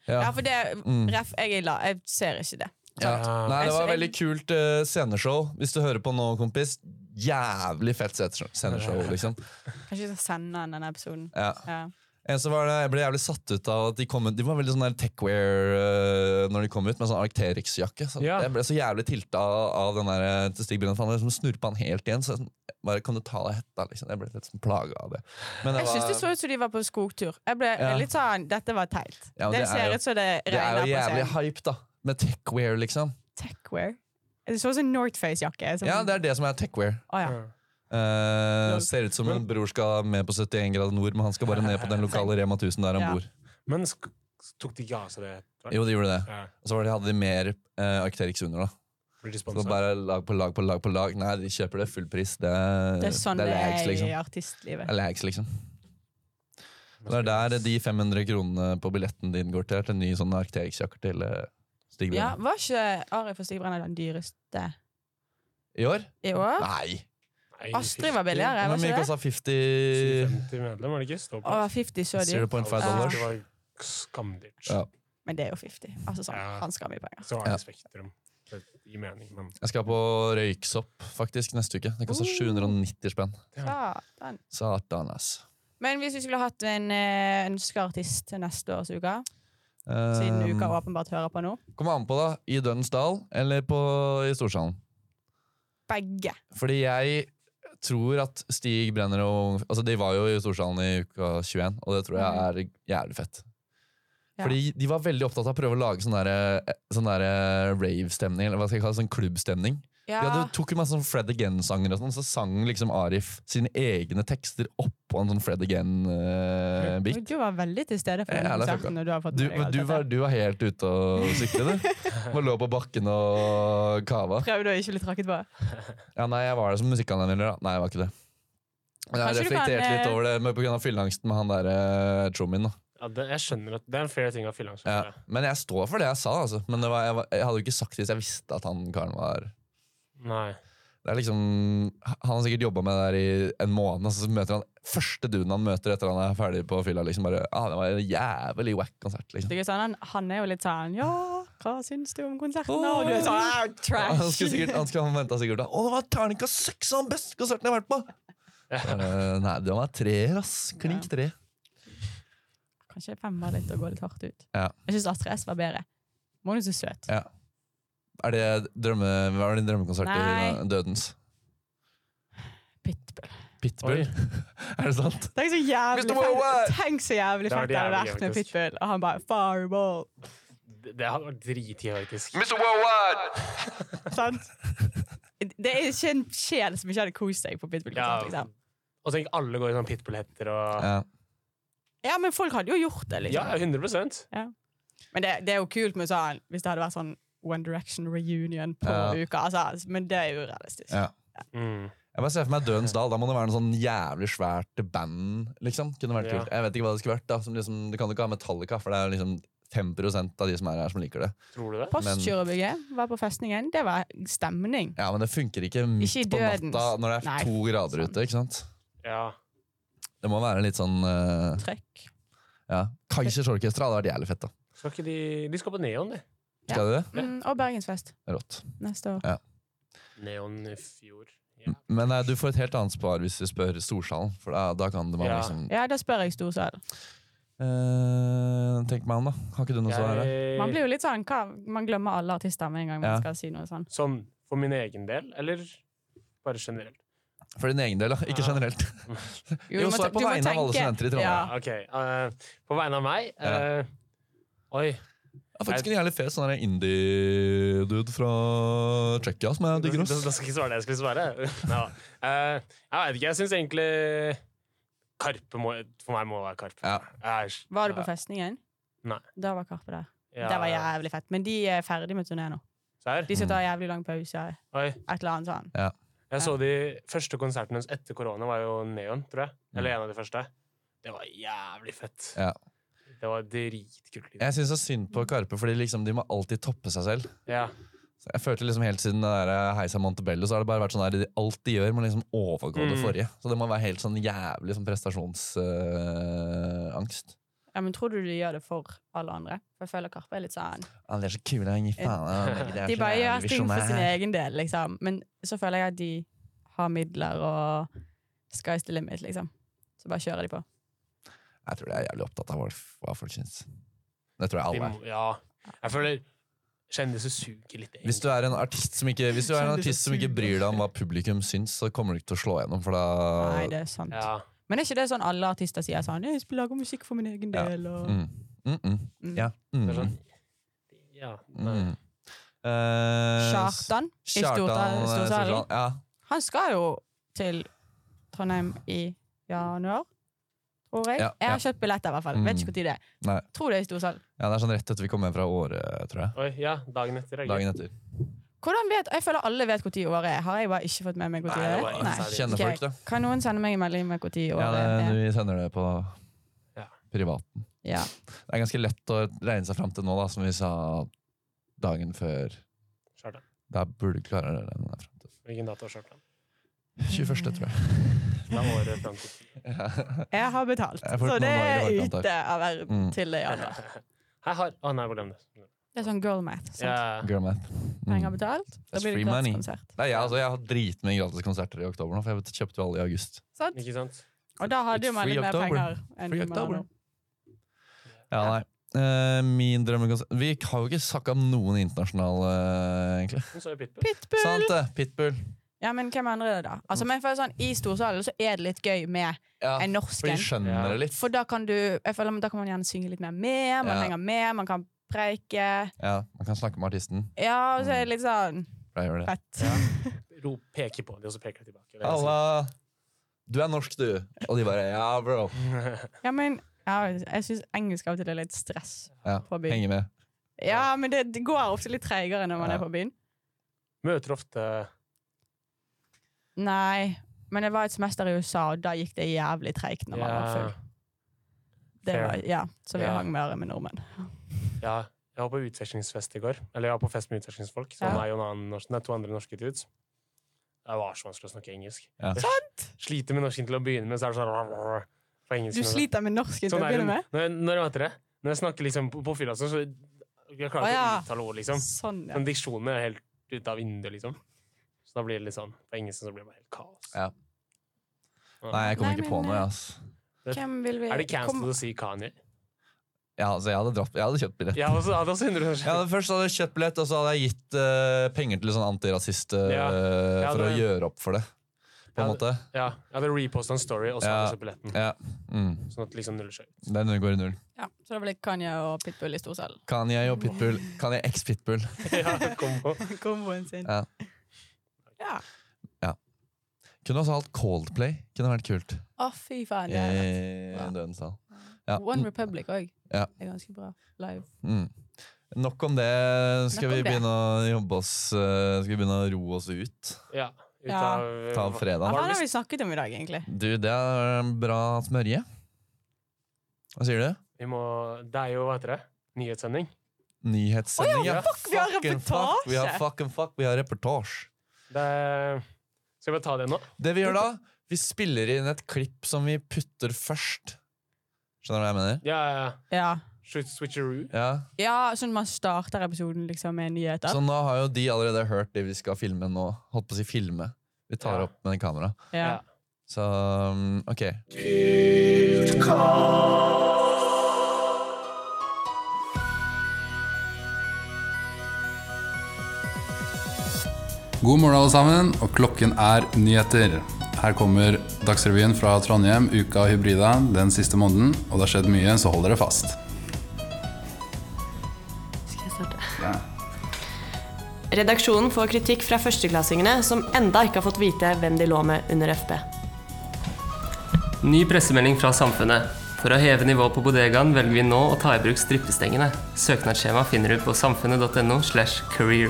A: Ja.
C: Ja, for det
A: Mm.
C: Ref, jeg er la, jeg ser ikke det.
A: Ja.
B: Ja.
A: Nei, det
C: Altså,
A: var
C: jeg-
A: veldig kult eh, sceneshow. Hvis du hører på nå, kompis, jævlig fett sceneshow- sceneshow, liksom.
C: Kanskje jeg skal sende han denne episoden.
A: Ja.
C: Ja.
A: En så var det, Jeg ble jævlig satt ut av at de kom ut De var veldig sånn der techwear øh, når de kom ut, med sånn Arcterix-jakke. Så
B: Ja.
A: Jeg ble så jævlig tilta av- av den der øh, til Stig Brenner, for han liksom snurpa han helt igjen. Så jeg sånn, bare Kan du ta av deg hetta? Liksom. Jeg ble litt sånn plaga av det. Men det
C: Jeg syns
A: var-
C: det så ut som de var på skogtur. Jeg ble
A: Ja.
C: litt sånn, Dette var teit.
A: Ja, men det er
C: det,
A: jo-
C: ser ut som det
A: det er jo
C: regner på
A: jævlig
C: scenen.
A: hype, da. Med techwear, liksom.
C: Techwear. Det så ut som en Northface-jakke. som-
A: Ja, det er det som er techwear.
C: Å, ja.
A: Eh, ser ut som en bror skal med på 71 grader nord, men han skal bare ned på den lokale Rema 1000 der han
C: Ja.
A: bor.
B: Men sk tok de ikke av seg det? etter hvert?
A: Jo, de gjorde det.
B: Ja.
A: Og så var det- hadde de mer uh, Arcterix under, da.
B: Blir de
A: Så
B: sponset?
A: bare lag på lag på lag på lag. Nei, de kjøper det full pris. Det er,
C: Det er sånn det
A: lags,
C: er
A: liksom.
C: i artistlivet.
A: Det er lags, liksom. Det er der eh, de 500 kronene på billetten din går til, til en ny sånn arkitektsjakker til eh, Stig
C: Ja,
A: Brenner.
C: Var ikke Arif og Stig Brenner den dyreste
A: I år?
C: i år?
A: Nei!
B: Nei,
C: Astrid var billigere,
A: Hvor
C: var
A: mye
C: ikke det?
A: kosta 50
B: 50 medlem, var det ikke? Stå på.
C: Å, 50 så dyr.
A: 0.5
C: Ja.
A: dollars?
B: Det var skamdyrt.
A: Ja.
C: Men det er jo 50. Altså sånn,
B: Ja.
C: Han skal ha mye penger.
B: Så er
A: Ja.
B: det Spektrum. Det gir mening, men
A: Jeg skal på Røyksopp faktisk neste uke. Det koster
C: Oh.
A: 790 spenn.
C: Satan.
A: Satan, ass.
C: Men hvis vi skulle hatt en eh, ønska artist til neste års uke, siden
A: Um,
C: uka åpenbart hører på nå
A: Kommer an på, da. I Dønnens Dal eller på, i Storsalen?
C: Begge.
A: Fordi jeg tror at Stig Brenner og Altså De var jo i Storsalen i uka 21, og det tror jeg er jævlig fett.
C: Mhm. Ja.
A: Fordi de var veldig opptatt av å prøve å lage sånn derre sånn der rave-stemning, eller hva skal jeg kalle det, sånn klubbstemning.
C: Ja.
A: De hadde, tok jo masse sånn Fred Again-sanger, og sånn, så sang liksom Arif sine egne tekster oppå en sånn Fred
C: [LAUGHS]
A: Again-beat.
C: Du var veldig til stede for den
A: Eh, Ja, det funka.
C: konserten. Og du har fått
A: du,
C: med deg alt
A: du,
C: dette.
A: var, du var helt ute og sykle, du.
C: [LAUGHS]
A: Og lå på bakken og kava.
C: Prøvde å ikke bli tråkket på.
A: Ja, nei, jeg var der som musikkanmelder, da. Nei, jeg var ikke det. Men jeg
C: Kanskje du kan,
A: reflekterte
C: eh,
A: litt over det med- på grunn av fylleangsten med han der eh, trommien, da.
B: ja, det, jeg skjønner at det er en fair ting å fylle
A: Ja.
B: ansvaret.
A: Men jeg står for det jeg sa, altså. Men det var, jeg, var, jeg hadde jo ikke sagt det hvis jeg visste at han karen var
B: Nei.
A: det er liksom, Han har sikkert jobba med det der i en måned, og så møter han første duden han møter etter han er ferdig på fylla. liksom bare, ah, Det var en jævlig wack konsert, liksom.
C: Det er sånn, han, han er jo litt sånn Ja, hva syns du om konserten?
A: Åh.
C: Og du er sånn «Ah, Trash!
A: Han skulle sikkert, han skulle han ventet sikkert da Å, det var terningkast seks av den beste konserten jeg har vært på! Eh, nei, det var treer, ass. Klink tre.
C: Kanskje fem var litt å gå litt hardt ut.
A: Ja.
C: Jeg syns Astrid S var bedre. Hun er så søt.
A: Ja. Er det drømme, hva er din drømmekonsert
C: Nei.
A: i Dødens?
C: Pitbull.
A: Pitbull?
B: Oi.
A: [LAUGHS] er det sant?
C: Tenk så
A: Mr.
C: jævlig
A: Worldwide!
C: fett, tenk så jævlig
B: Det var
C: fett det hadde
B: jævlig
C: vært med
B: faktisk.
C: Pitbull, og han bare Fireball!
B: Det, det hadde vært dritteoretisk.
D: Mr. Worldwide!
C: Sant? [LAUGHS] Det er ikke en sjel som ikke hadde kost seg på Pitbull.
B: Ja.
C: konsert, Liksom.
B: Og tenk, alle går i sånn pitbull-hetter og
A: Ja.
C: ja, men folk hadde jo gjort det,
B: Ja,
C: liksom.
B: 100
C: Men det, det er jo kult med sånn hvis det hadde vært sånn One Direction reunion på
A: Ja.
C: uka. Altså, men det er jo realistisk.
A: Ja.
B: mm.
A: Jeg bare ser for meg Dødens Dal. Da må det være noe sånn jævlig svært band. liksom. Kunne vært
B: Ja.
A: kult. Jeg vet ikke hva det skulle vært. da. Som liksom, du kan jo ikke ha Metallica, for det er jo liksom 5 av de som er her, som liker det.
B: Tror du det?
C: Postgirobygget var på festningen. Det var stemning.
A: Ja, Men det funker ikke midt
C: Ikke i
A: på
C: Dødens.
A: natta når det er
C: Nei,
A: to grader
C: sant.
A: ute. ikke sant?
B: Ja.
A: Det må være litt sånn eh,
C: Trøkk.
A: ja. Kaizers Orkestra hadde vært jævlig fett. da.
B: Skal ikke de De skal på Neon, de.
A: Skal du det?
C: Mm, og Bergensfest
A: Rått.
C: neste år.
B: Neon i fjor. Ja.
A: Men eh, du får et helt annet spar hvis du spør Storsalen, for da, da kan det man
B: Ja.
A: liksom
C: Ja, da spør jeg Storsal.
A: Eh, Tenk meg om, da. Har ikke du noe svar? her?
C: Man
B: Jeg,
C: blir jo litt sånn, hva, man glemmer alle artister med en gang man
A: Ja.
C: skal si noe sånn.
B: sånn For min egen del, eller bare generelt?
A: For din egen del, da. Ikke
B: Ja.
A: generelt. [LAUGHS]
C: du
A: Jo,
C: må
A: så er
C: ta-
A: på
C: du må
A: vegne av alle
C: tenke.
A: studenter i Trondheim.
C: Ja.
B: Ok, eh, På vegne av meg eh, Oi.
A: Jeg er faktisk en jævlig fet sånn der indie-dude fra Tsjekkia som jeg
B: Da,
A: digger.
B: da,
A: ass.
B: da skal jeg ikke svare det jeg skulle svare. [LAUGHS] Neida. Eh, jeg veit ikke. Jeg syns egentlig Karpe må, for meg må være Karpe.
A: Ja.
B: Æsj.
C: Var du på festningen?
B: Nei.
C: Da var Karpe der.
B: Ja.
C: Det var jævlig fett. Men de er ferdig med turné nå.
B: Serr?
C: De skal
A: Mm.
C: ta jævlig lang pause.
B: Oi.
C: Et eller annet sånn.
B: Jeg så de første konsertene hennes etter korona, var jo Neon, tror jeg. Eller en av de første. Det var jævlig fett.
A: Mm. Ja.
B: Det var dritkult. Liksom.
A: Jeg syns det er synd på Karpe, fordi liksom de må alltid toppe seg selv.
B: Ja.
A: Så jeg følte liksom Helt siden det der Heisa Montebello Så har det bare vært sånn der, de- alt de gjør, må liksom overgå det
B: Mm.
A: forrige. Så det må være helt sånn jævlig sånn eh, prestasjonsangst.
C: Ja, men tror du de gjør det for alle andre? For jeg føler Karpe er litt sånn
A: Ja, de Ah, er så kule, jeg gir faen. jeg er
C: [LAUGHS] De
A: så
C: bare
A: jævlig
C: gjør ting for sin
A: visjonære.
C: egen del, liksom. Men så føler jeg at de har midler og sky's the limit, liksom. Så bare kjører de på.
A: Jeg tror de er jævlig opptatt av hva- hva folk syns. Det tror jeg
B: De
A: alle er.
B: må, ja. Jeg føler Kjendiser suger litt.
A: Hvis du er en artist som ikke, hvis du er en
C: Kjendis
A: artist som
C: og
A: ikke
C: sur.
A: bryr deg om hva publikum syns, så kommer du ikke til å slå gjennom. For
C: Nei,
A: da
C: det er sant.
B: Ja.
C: Men er ikke det sånn alle artister sier sånn 'Jeg spiller- lager musikk for min egen
A: Ja.
C: del', og
A: mm, mm, mm,
C: Mm.
A: Ja. Mm,
B: Det er sånn Ja. Nei.
A: mm. Eh,
C: Kjartan i Storta-
A: eh,
C: Storsalen.
A: Ja.
C: Han skal jo til Trondheim i januar, tror jeg.
A: Ja,
C: Jeg har
A: ja.
C: kjøpt billetter, i hvert fall. Vet ikke
A: Mm.
C: hvor tid det er.
A: Nei.
C: Tror det er i Storsal.
A: ja, det er sånn rett etter vi kom hjem fra Åre, tror jeg.
B: Oi, ja. Dagen etter. er gøy.
A: Dagen etter.
C: Hvordan vet, Jeg føler alle vet når året er. Har jeg bare ikke fått med meg når
B: Nei, det
C: året
B: var
C: er?
B: ikke
C: Nei.
B: særlig.
A: Kjenner
C: Ok.
A: folk, da.
C: Kan noen sende meg en melding med når
A: Ja,
C: året
A: det, vi
C: er?
A: sender det på
B: Ja.
A: privaten.
C: Ja.
A: Det er ganske lett å regne seg fram til nå, da, som vi sa dagen før.
B: Kjartan.
A: Da burde du klare å regne deg fram til.
B: Hvilken dato er Kjartan?
A: 21., tror jeg.
B: Det er året fram til
C: Jeg har betalt,
A: Jeg har fått
C: så
A: noen
C: det
A: dager i
C: er
A: forkant, takk.
C: ute av verden
A: Mm.
C: til det i januar.
B: [LAUGHS] Jeg har Å nei, glem det.
C: Det er sånn girl math. sant?
B: Ja.
A: Girl math.
C: Penger
A: Mm.
C: betalt, da
A: That's
C: blir det
A: free money.
C: glattkonsert.
A: Nei, jeg, altså, jeg har dritmye gratiskonserter i oktober nå, for jeg kjøpte jo alle i august.
C: Sant?
B: Ikke sant?
C: Og da hadde
A: It's
C: jo man litt
A: free
C: mer
A: October.
C: penger. enn
A: Free
C: man har
A: October.
C: nå.
A: Ja, nei. Eh, min drømmekonsert Vi har jo ikke snakka om noen internasjonale, eh, egentlig.
B: Hun så jo Pitbull.
C: Pitbull!
A: Sant det? Pitbull.
C: Ja, men hvem andre er det da? Altså, men jeg føler sånn, I storsalen så er det litt gøy med
A: Ja,
C: en
A: for de
C: norsken.
A: skjønner
B: Ja.
A: det litt.
C: For da kan du jeg føler, men da kan man gjerne synge litt mer med, man
A: Ja.
C: henger med, man kan preike.
A: Ja, Man kan snakke med artisten.
C: Ja, og så er
A: Mm.
C: det litt sånn
A: For jeg gjør det.
C: fett.
B: Ro peker på dem, og så peker de tilbake. Det er
A: Alla, du er norsk, du. Og de bare ja, bro.
B: liksom-
C: Ja, men ja, jeg syns engelsk av og til er litt stress
A: Ja,
C: på byen.
A: Henger med.
C: Ja, men det, det går ofte litt treigere når man
A: Ja.
C: er på byen.
B: [LAUGHS] Møter ofte
C: Nei, men det var et semester i USA, og da gikk det jævlig treigt når man var full.
B: ja,
C: Det
B: fair.
C: var, ja, så vi
B: Ja.
C: hang mer med nordmenn.
B: ja. Jeg var på utvekslingsfest i går. Eller jeg var på fest med utvekslingsfolk. Så
C: Ja.
B: meg og en annen norsk, nei, to andre norske dudes. Det var så vanskelig å snakke engelsk.
A: Ja.
B: Jeg
C: Sånn.
B: Sliter med norsken til å begynne med, så er det sånn på engelsk.
C: Du sliter med norsken til
B: Sånn
C: å
B: er det
C: begynne med?
B: når, jeg- når jeg møter det. Når jeg snakker liksom på, på fylla, sånn, så jeg klarer
C: Å,
B: ikke
C: ja.
B: å uttale ord, liksom.
C: Sånn, ja.
B: Men diksjonen er helt ute av vinduet, liksom. Så da blir det litt sånn På engelsk så blir det bare helt kaos.
A: Ja. Nei, jeg kommer
C: Nei,
A: ikke på
C: men,
A: noe.
C: eh,
A: ass.
C: Hvem vil vi
B: Er det
C: Kom-
B: cancelled å si Kanye? altså,
A: Ja, altså, jeg, hadde dratt, jeg hadde kjøpt billett.
B: Jeg hadde også, jeg hadde også 100
A: Jeg hadde først hadde jeg kjøpt billett, og så hadde jeg gitt eh, penger til sånn antirasist eh,
B: Ja. Jeg
A: for å
B: hadde-
A: gjøre opp for det, på en
B: Jeg
A: måte.
B: Ja, jeg hadde reposta en story, og så
A: Ja.
B: hadde jeg kjøpt billetten.
A: Ja. Mm.
B: Sånn at det liksom nuller seg ut.
A: Den går i null.
C: Ja, så da blir det Kanye og Pitbull i storsalen.
A: Kanye og Pitbull. Kanye x Pitbull.
B: [LAUGHS] ja, kombo.
C: [LAUGHS] Komboen sin.
A: Ja.
C: Ja.
A: Kunne også hatt Coldplay. Kunne vært kult.
C: Å, fy faen.
A: I
C: Det er fett.
A: Dødens sal. Eh, Ja.
C: One Republic òg.
A: Ja.
C: Det er ganske bra live.
A: Mm. Nok om det. Skal
C: Nok
A: vi
C: om det.
A: begynne å jobbe oss eh, Skal vi begynne å roe oss ut?
B: Ja. Ut
C: Ja.
B: av
A: Ta av
C: Hva
A: fredag.
C: faen har vi snakket om i dag, egentlig?
A: Du, det er en bra smørje. Hva sier du?
B: Vi må Det er jo, hva heter det? Nyhetssending.
A: Nyhetssending,
B: Å ja,
C: fuck, vi har
A: Fucking fuck, Vi har
C: reportasje.
A: fucking fuck, vi har reportasje.
B: Det er... Skal vi bare ta det nå?
A: Det vi gjør da, vi spiller inn et klipp som vi putter først. Skjønner du hva jeg mener?
B: Ja, ja, ja.
C: Ja,
B: Switch- switcheroo.
A: Ja.
C: ja sånn man starter episoden liksom med nyheter.
A: Så nå har jo de allerede hørt det vi skal filme nå. Holdt på å si filme. Vi tar
B: Ja.
A: opp med kamera.
C: Ja.
A: Så um, ok.
F: God morgen, alle sammen, og klokken er nyheter. Her kommer Dagsrevyen fra Trondheim, uka hybrida, den siste måneden. Og det har skjedd mye, så hold dere fast.
G: Skal jeg starte? Redaksjonen får kritikk fra førsteklassingene som enda ikke har fått vite hvem de lå med under FP.
H: Ny pressemelding fra Samfunnet. For å heve nivået på bodegaen velger vi nå å ta i bruk strippestengene. Søknadsskjema finner du på samfunnet.no slash career.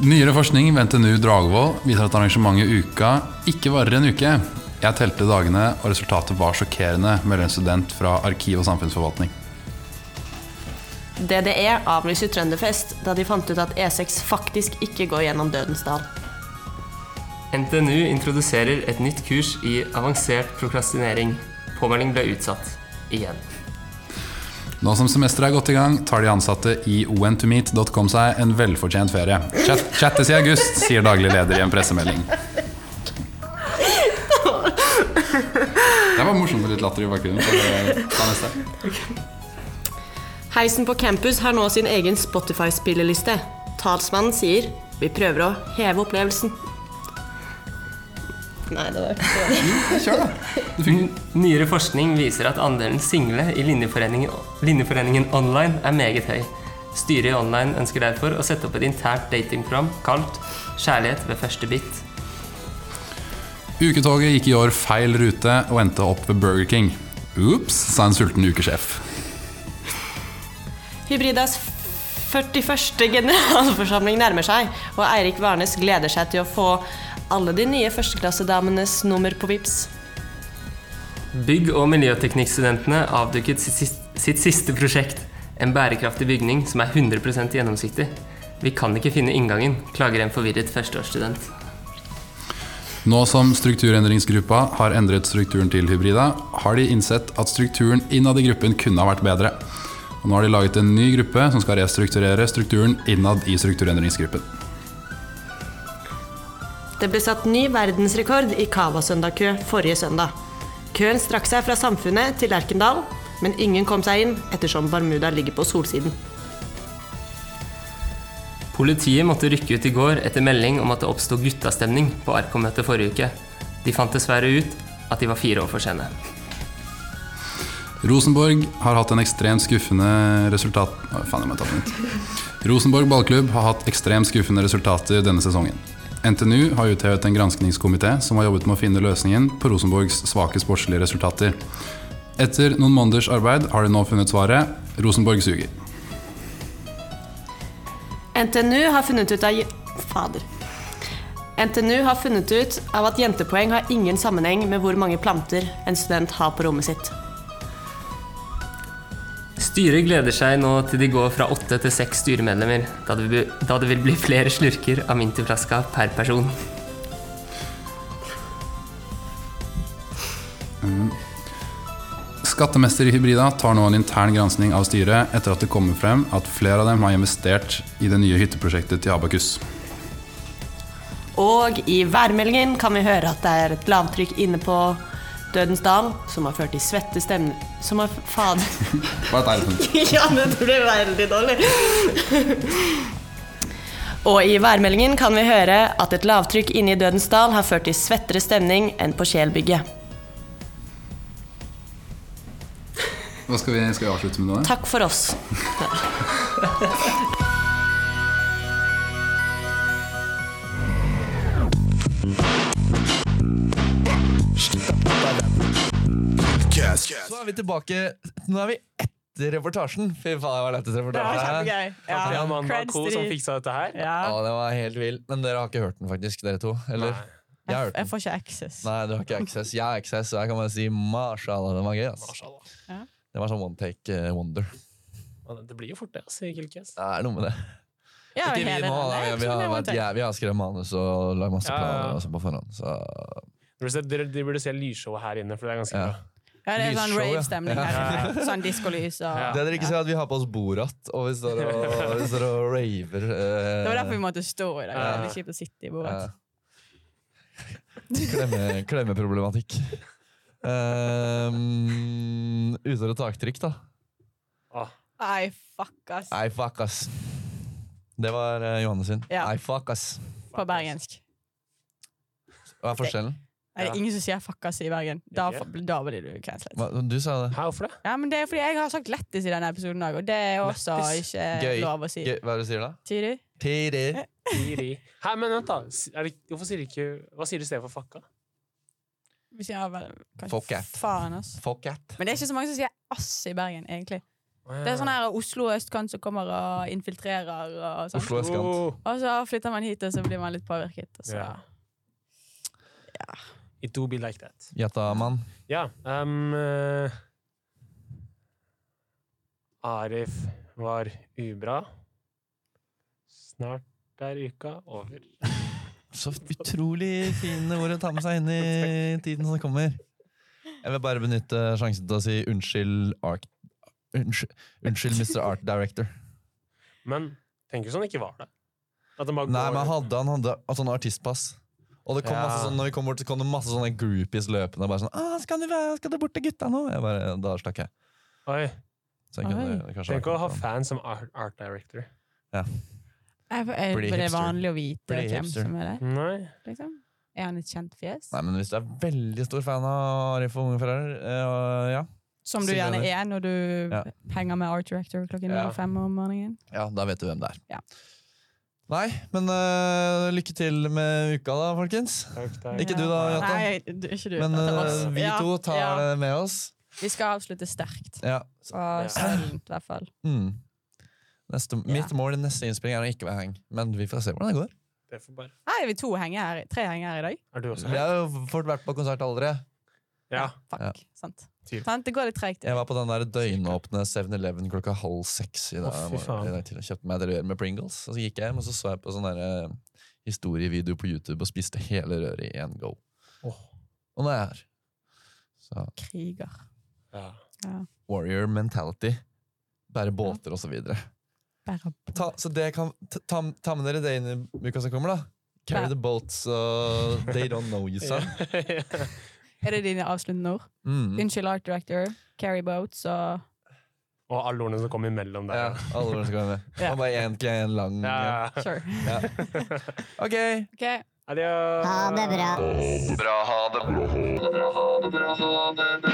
F: Nyere forskning ved NTNU Dragvoll viser at arrangementet Uka ikke varer en uke. Jeg telte dagene, og resultatet var sjokkerende, melder en student fra Arkiv og samfunnsforvaltning.
G: DDE E avlyser Trønderfest da de fant ut at E6 faktisk ikke går gjennom Dødens dal.
H: NTNU introduserer et nytt kurs i avansert prokrastinering. Påmelding ble utsatt. Igjen.
F: Nå som semesteret er godt i gang, tar de ansatte i ontomeet.com seg en velfortjent ferie. Chat chattes i august, sier daglig leder i en pressemelding. Det var morsomt med litt latter i bakgrunnen. så det- ta neste.
G: Heisen på campus har nå sin egen Spotify-spilleliste. Talsmannen sier vi prøver å heve opplevelsen. Nei, det var ikke
F: Kjør, da.
H: Nyere forskning viser at andelen single i linjeforeningen, linjeforeningen online er meget høy. Styret i Online ønsker derfor å sette opp et internt datingprogram kalt 'Kjærlighet ved første bit'.
F: Uketoget gikk i år feil rute og endte opp ved Burger King. Ops, sa en sulten ukesjef.
G: Hybridas 41. generalforsamling nærmer seg, og Eirik Varnes gleder seg til å få alle de nye førsteklassedamenes nummer på VIPS.
H: Bygg- og miljøteknikkstudentene avduket sitt, sis- sitt siste prosjekt. En bærekraftig bygning som er 100 gjennomsiktig. Vi kan ikke finne inngangen, klager en forvirret førsteårsstudent.
F: Nå som strukturendringsgruppa har endret strukturen til hybrida, har de innsett at strukturen innad i gruppen kunne ha vært bedre. Og nå har de laget en ny gruppe som skal restrukturere strukturen innad i strukturendringsgruppen.
G: Det ble satt ny verdensrekord i Cava-søndagkø forrige søndag. Køen strakk seg fra Samfunnet til Lerkendal, men ingen kom seg inn ettersom Barmuda ligger på solsiden.
H: Politiet måtte rykke ut i går etter melding om at det oppsto guttastemning på Arkom-møtet forrige uke. De fant dessverre ut at de var fire år for sene.
F: Rosenborg har hatt en ekstremt skuffende resultat... Å, faen, jeg må ta den ut. Rosenborg ballklubb har hatt ekstremt skuffende resultater denne sesongen. NTNU har uthevet en granskningskomité som har jobbet med å finne løsningen på Rosenborgs svake sportslige resultater. Etter noen måneders arbeid har de nå funnet svaret. Rosenborg suger.
G: NTNU har funnet ut av je- Fader. NTNU har funnet ut av at jentepoeng har ingen sammenheng med hvor mange planter en student har på rommet sitt.
H: Styret gleder seg nå til de går fra åtte til seks styremedlemmer, da det, vil- da det vil bli flere slurker av mintiflaska per person.
F: Skattemester i Hybrida tar nå en intern gransking av styret etter at det kommer frem at flere av dem har investert i det nye hytteprosjektet til Abakus.
G: Og i værmeldingen kan vi høre at det er et lavtrykk inne på Dødens dal, som har ført til svette stemmer Som har Fader.
F: Hva er det?
G: [LAUGHS] ja, dette ble veldig dårlig. Og i værmeldingen kan vi høre at et lavtrykk inne i Dødens dal har ført til svettere stemning enn på Kjelbygget.
F: Hva skal, vi, skal vi avslutte med noe?
G: Takk for oss.
A: Så er vi tilbake. Nå er vi etter reportasjen. Fy faen, det var lettest
C: Det var
A: reportasje.
C: kjempegøy.
B: Ja,
C: Ja,
B: mann, det var
C: creds
B: Co
C: til
B: som
C: de-
B: fiksa dette her.
A: Ja,
C: Ja.
A: det var helt vild. Men dere har ikke hørt den, faktisk, dere to? Eller? Jeg
B: Nei.
A: har
C: Jeg,
A: hørt
C: jeg
A: den.
C: får ikke access.
A: Nei, du har ikke access. Jeg har access, så jeg kan bare si mashallah. Den var gøy, ass.
B: Mashallah.
A: Det var sånn one take eh, wonder.
B: Men Det blir jo fort det, altså, i Kilkes.
A: Det er noe med det.
C: Ja,
A: Ikke vi nå, da.
C: hele den. Nei,
A: Vi,
C: jeg
A: vi,
C: tror
A: har,
C: det var
A: vært,
C: en
A: ja, vi har skrevet manus og lagd masse
B: Ja, ja, ja.
A: planer og sånn på forhånd, så
B: Dere burde se- Dere dere burde se lysshowet her inne, for det er ganske
A: ja.
B: bra.
C: take. Ja, det er sånn
A: Lysshow, ja.
C: rave-stemning her. inne. Sånn diskolys og
B: Ja.
A: Det dere ikke ser, er at vi har på oss Borat, og vi
C: [LAUGHS]
A: står og, vi står og raver. eh,
C: Det var derfor vi måtte stå i dag. Det var
B: Ja.
C: litt kjipt å sitte i bordet.
A: eh, klemme, klemmeproblematikk. Um, Utår og taktrykk, da.
B: Åh,
C: Nei, fuck, ass.
A: Nei, fuck, ass. Det var eh, Johanne sin.
C: Ja.
A: Nei, fuck, ass.
C: på bergensk.
A: Hva er forskjellen?
C: Nei, det
B: Ja.
C: er ingen som sier fuckas i Bergen. Da,
B: Ikke?
C: får- da blir du krenslet.
A: Hva, du sa det.
B: Hæ, hvorfor det?
C: Ja, men det er fordi jeg har sagt lættis i denne episoden òg, og det er også
B: Lættis.
C: ikke
A: Gøy.
C: lov å si.
A: Gøy, Hva er det du sier da?
C: Tyri?
A: Tiri.
B: Siri. Hæ, men vent, da. S- Er det, hvorfor sier du ikke Hva sier du i stedet for fucka?
C: Vi sier vel kanskje
A: Fuck it.
C: faen, ass.
A: Fuck it.
C: Men det er ikke så mange som sier ass i Bergen, egentlig. Det er sånn her Oslo og østkant som kommer og infiltrerer og sånn.
A: Oslo østkant.
B: Oh.
C: Og så flytter man hit, og så blir man litt påvirket. Og så.
B: Ja. It do be like that.
A: Gjetta, mann.
B: Ja. ehm, eh, Arif var ubra. Snart er uka over.
A: Så utrolig fine ord å ta med seg inn i tiden som kommer. Jeg vil bare benytte sjansen til å si unnskyld, Ark... Unnskyld, unnskyld Mr. Art Director.
B: Men tenk hvis han ikke var det. At han bare
A: Nei,
B: går
A: men hadde han hadde altså, han har artistpass. Og det kom
B: Ja.
A: masse sånn, når vi kom bort, så kom det masse sånne groupies løpende. Bare sånn, ah, skal, du, være- 'Skal du bort til gutta nå?' Jeg bare, Da stakk jeg.
B: Oi,
A: Så jeg kunne,
C: Oi.
A: kanskje
B: Tenk å
A: vært
B: ha
A: litt sånn.
B: fans som art, art director.
C: Jeg, jeg,
A: Bli
C: men det er
A: hipster.
C: vanlig å vite
A: Bli
C: hvem
A: hipster.
C: som er der.
B: Nei.
C: Liksom. Er han et kjent fjes?
A: Nei, men Hvis du er veldig stor fan av Arif og Unge Ferrer, eh, ja.
C: Som du
A: Sier jeg
C: gjerne
A: det.
C: er når du
A: Ja.
C: henger med Art Director klokken
B: Ja.
C: fem om morgenen.
A: ja, da vet du hvem det er.
C: Ja.
A: Nei, men eh, lykke til med uka, da, folkens.
B: Takk, takk.
A: Ikke du da, Jata?
C: Nei, du, ikke du.
A: Men
C: Det er
A: eh,
C: oss.
A: vi
C: Ja,
A: to tar
C: ja.
A: det med oss.
C: Vi skal avslutte sterkt.
A: Ja.
C: Fra sølent, i hvert fall.
A: Mm. Neste, Mitt mål i neste innspilling er å ikke være heng, men vi får se hvordan det går.
B: Det får bare.
C: Her er vi to henger her, tre henger her i dag.
B: Er du også
A: Vi
B: her?
A: har jo fort vært på konsert allerede.
B: Ja.
C: Fuck,
A: Ja.
C: sant.
B: Typ.
C: sant. Det går litt tregt.
A: Jeg var på den der døgnåpne 7-Eleven klokka halv seks i dag.
B: Å, fy faen.
A: i dag tidlig. kjøpte meg et rør med Pringles, og så gikk jeg hjem og så, så jeg på sånn der, eh, historievideo på YouTube og spiste hele røret i én go.
B: Åh.
A: Og nå er jeg her. Så
C: Kriger.
B: ja.
A: warrior mentality. Bære båter og så videre.
C: Bare på.
A: ta, så det kan, ta, ta- ta med dere det inn i uka som kommer, da. Carry
C: Ja.
A: the boats og They Don't Know You,
C: [LAUGHS]
A: sa.
C: Er det dine avsluttende ord?
A: Mm.
C: Unnskyld, Art Director. Carry Boats og
B: Og alle ordene som kom imellom
A: Ja,
B: der.
A: alle ordene som kommer med.
C: Ja.
A: Det var bare én en lang
B: Ja.
C: Sure.
A: Ok!
C: [LAUGHS] OK.
B: Adios.
E: Ha det bra.
D: Ha det
A: Bra, ha det.
D: bra. Ha det bra. Ha det bra.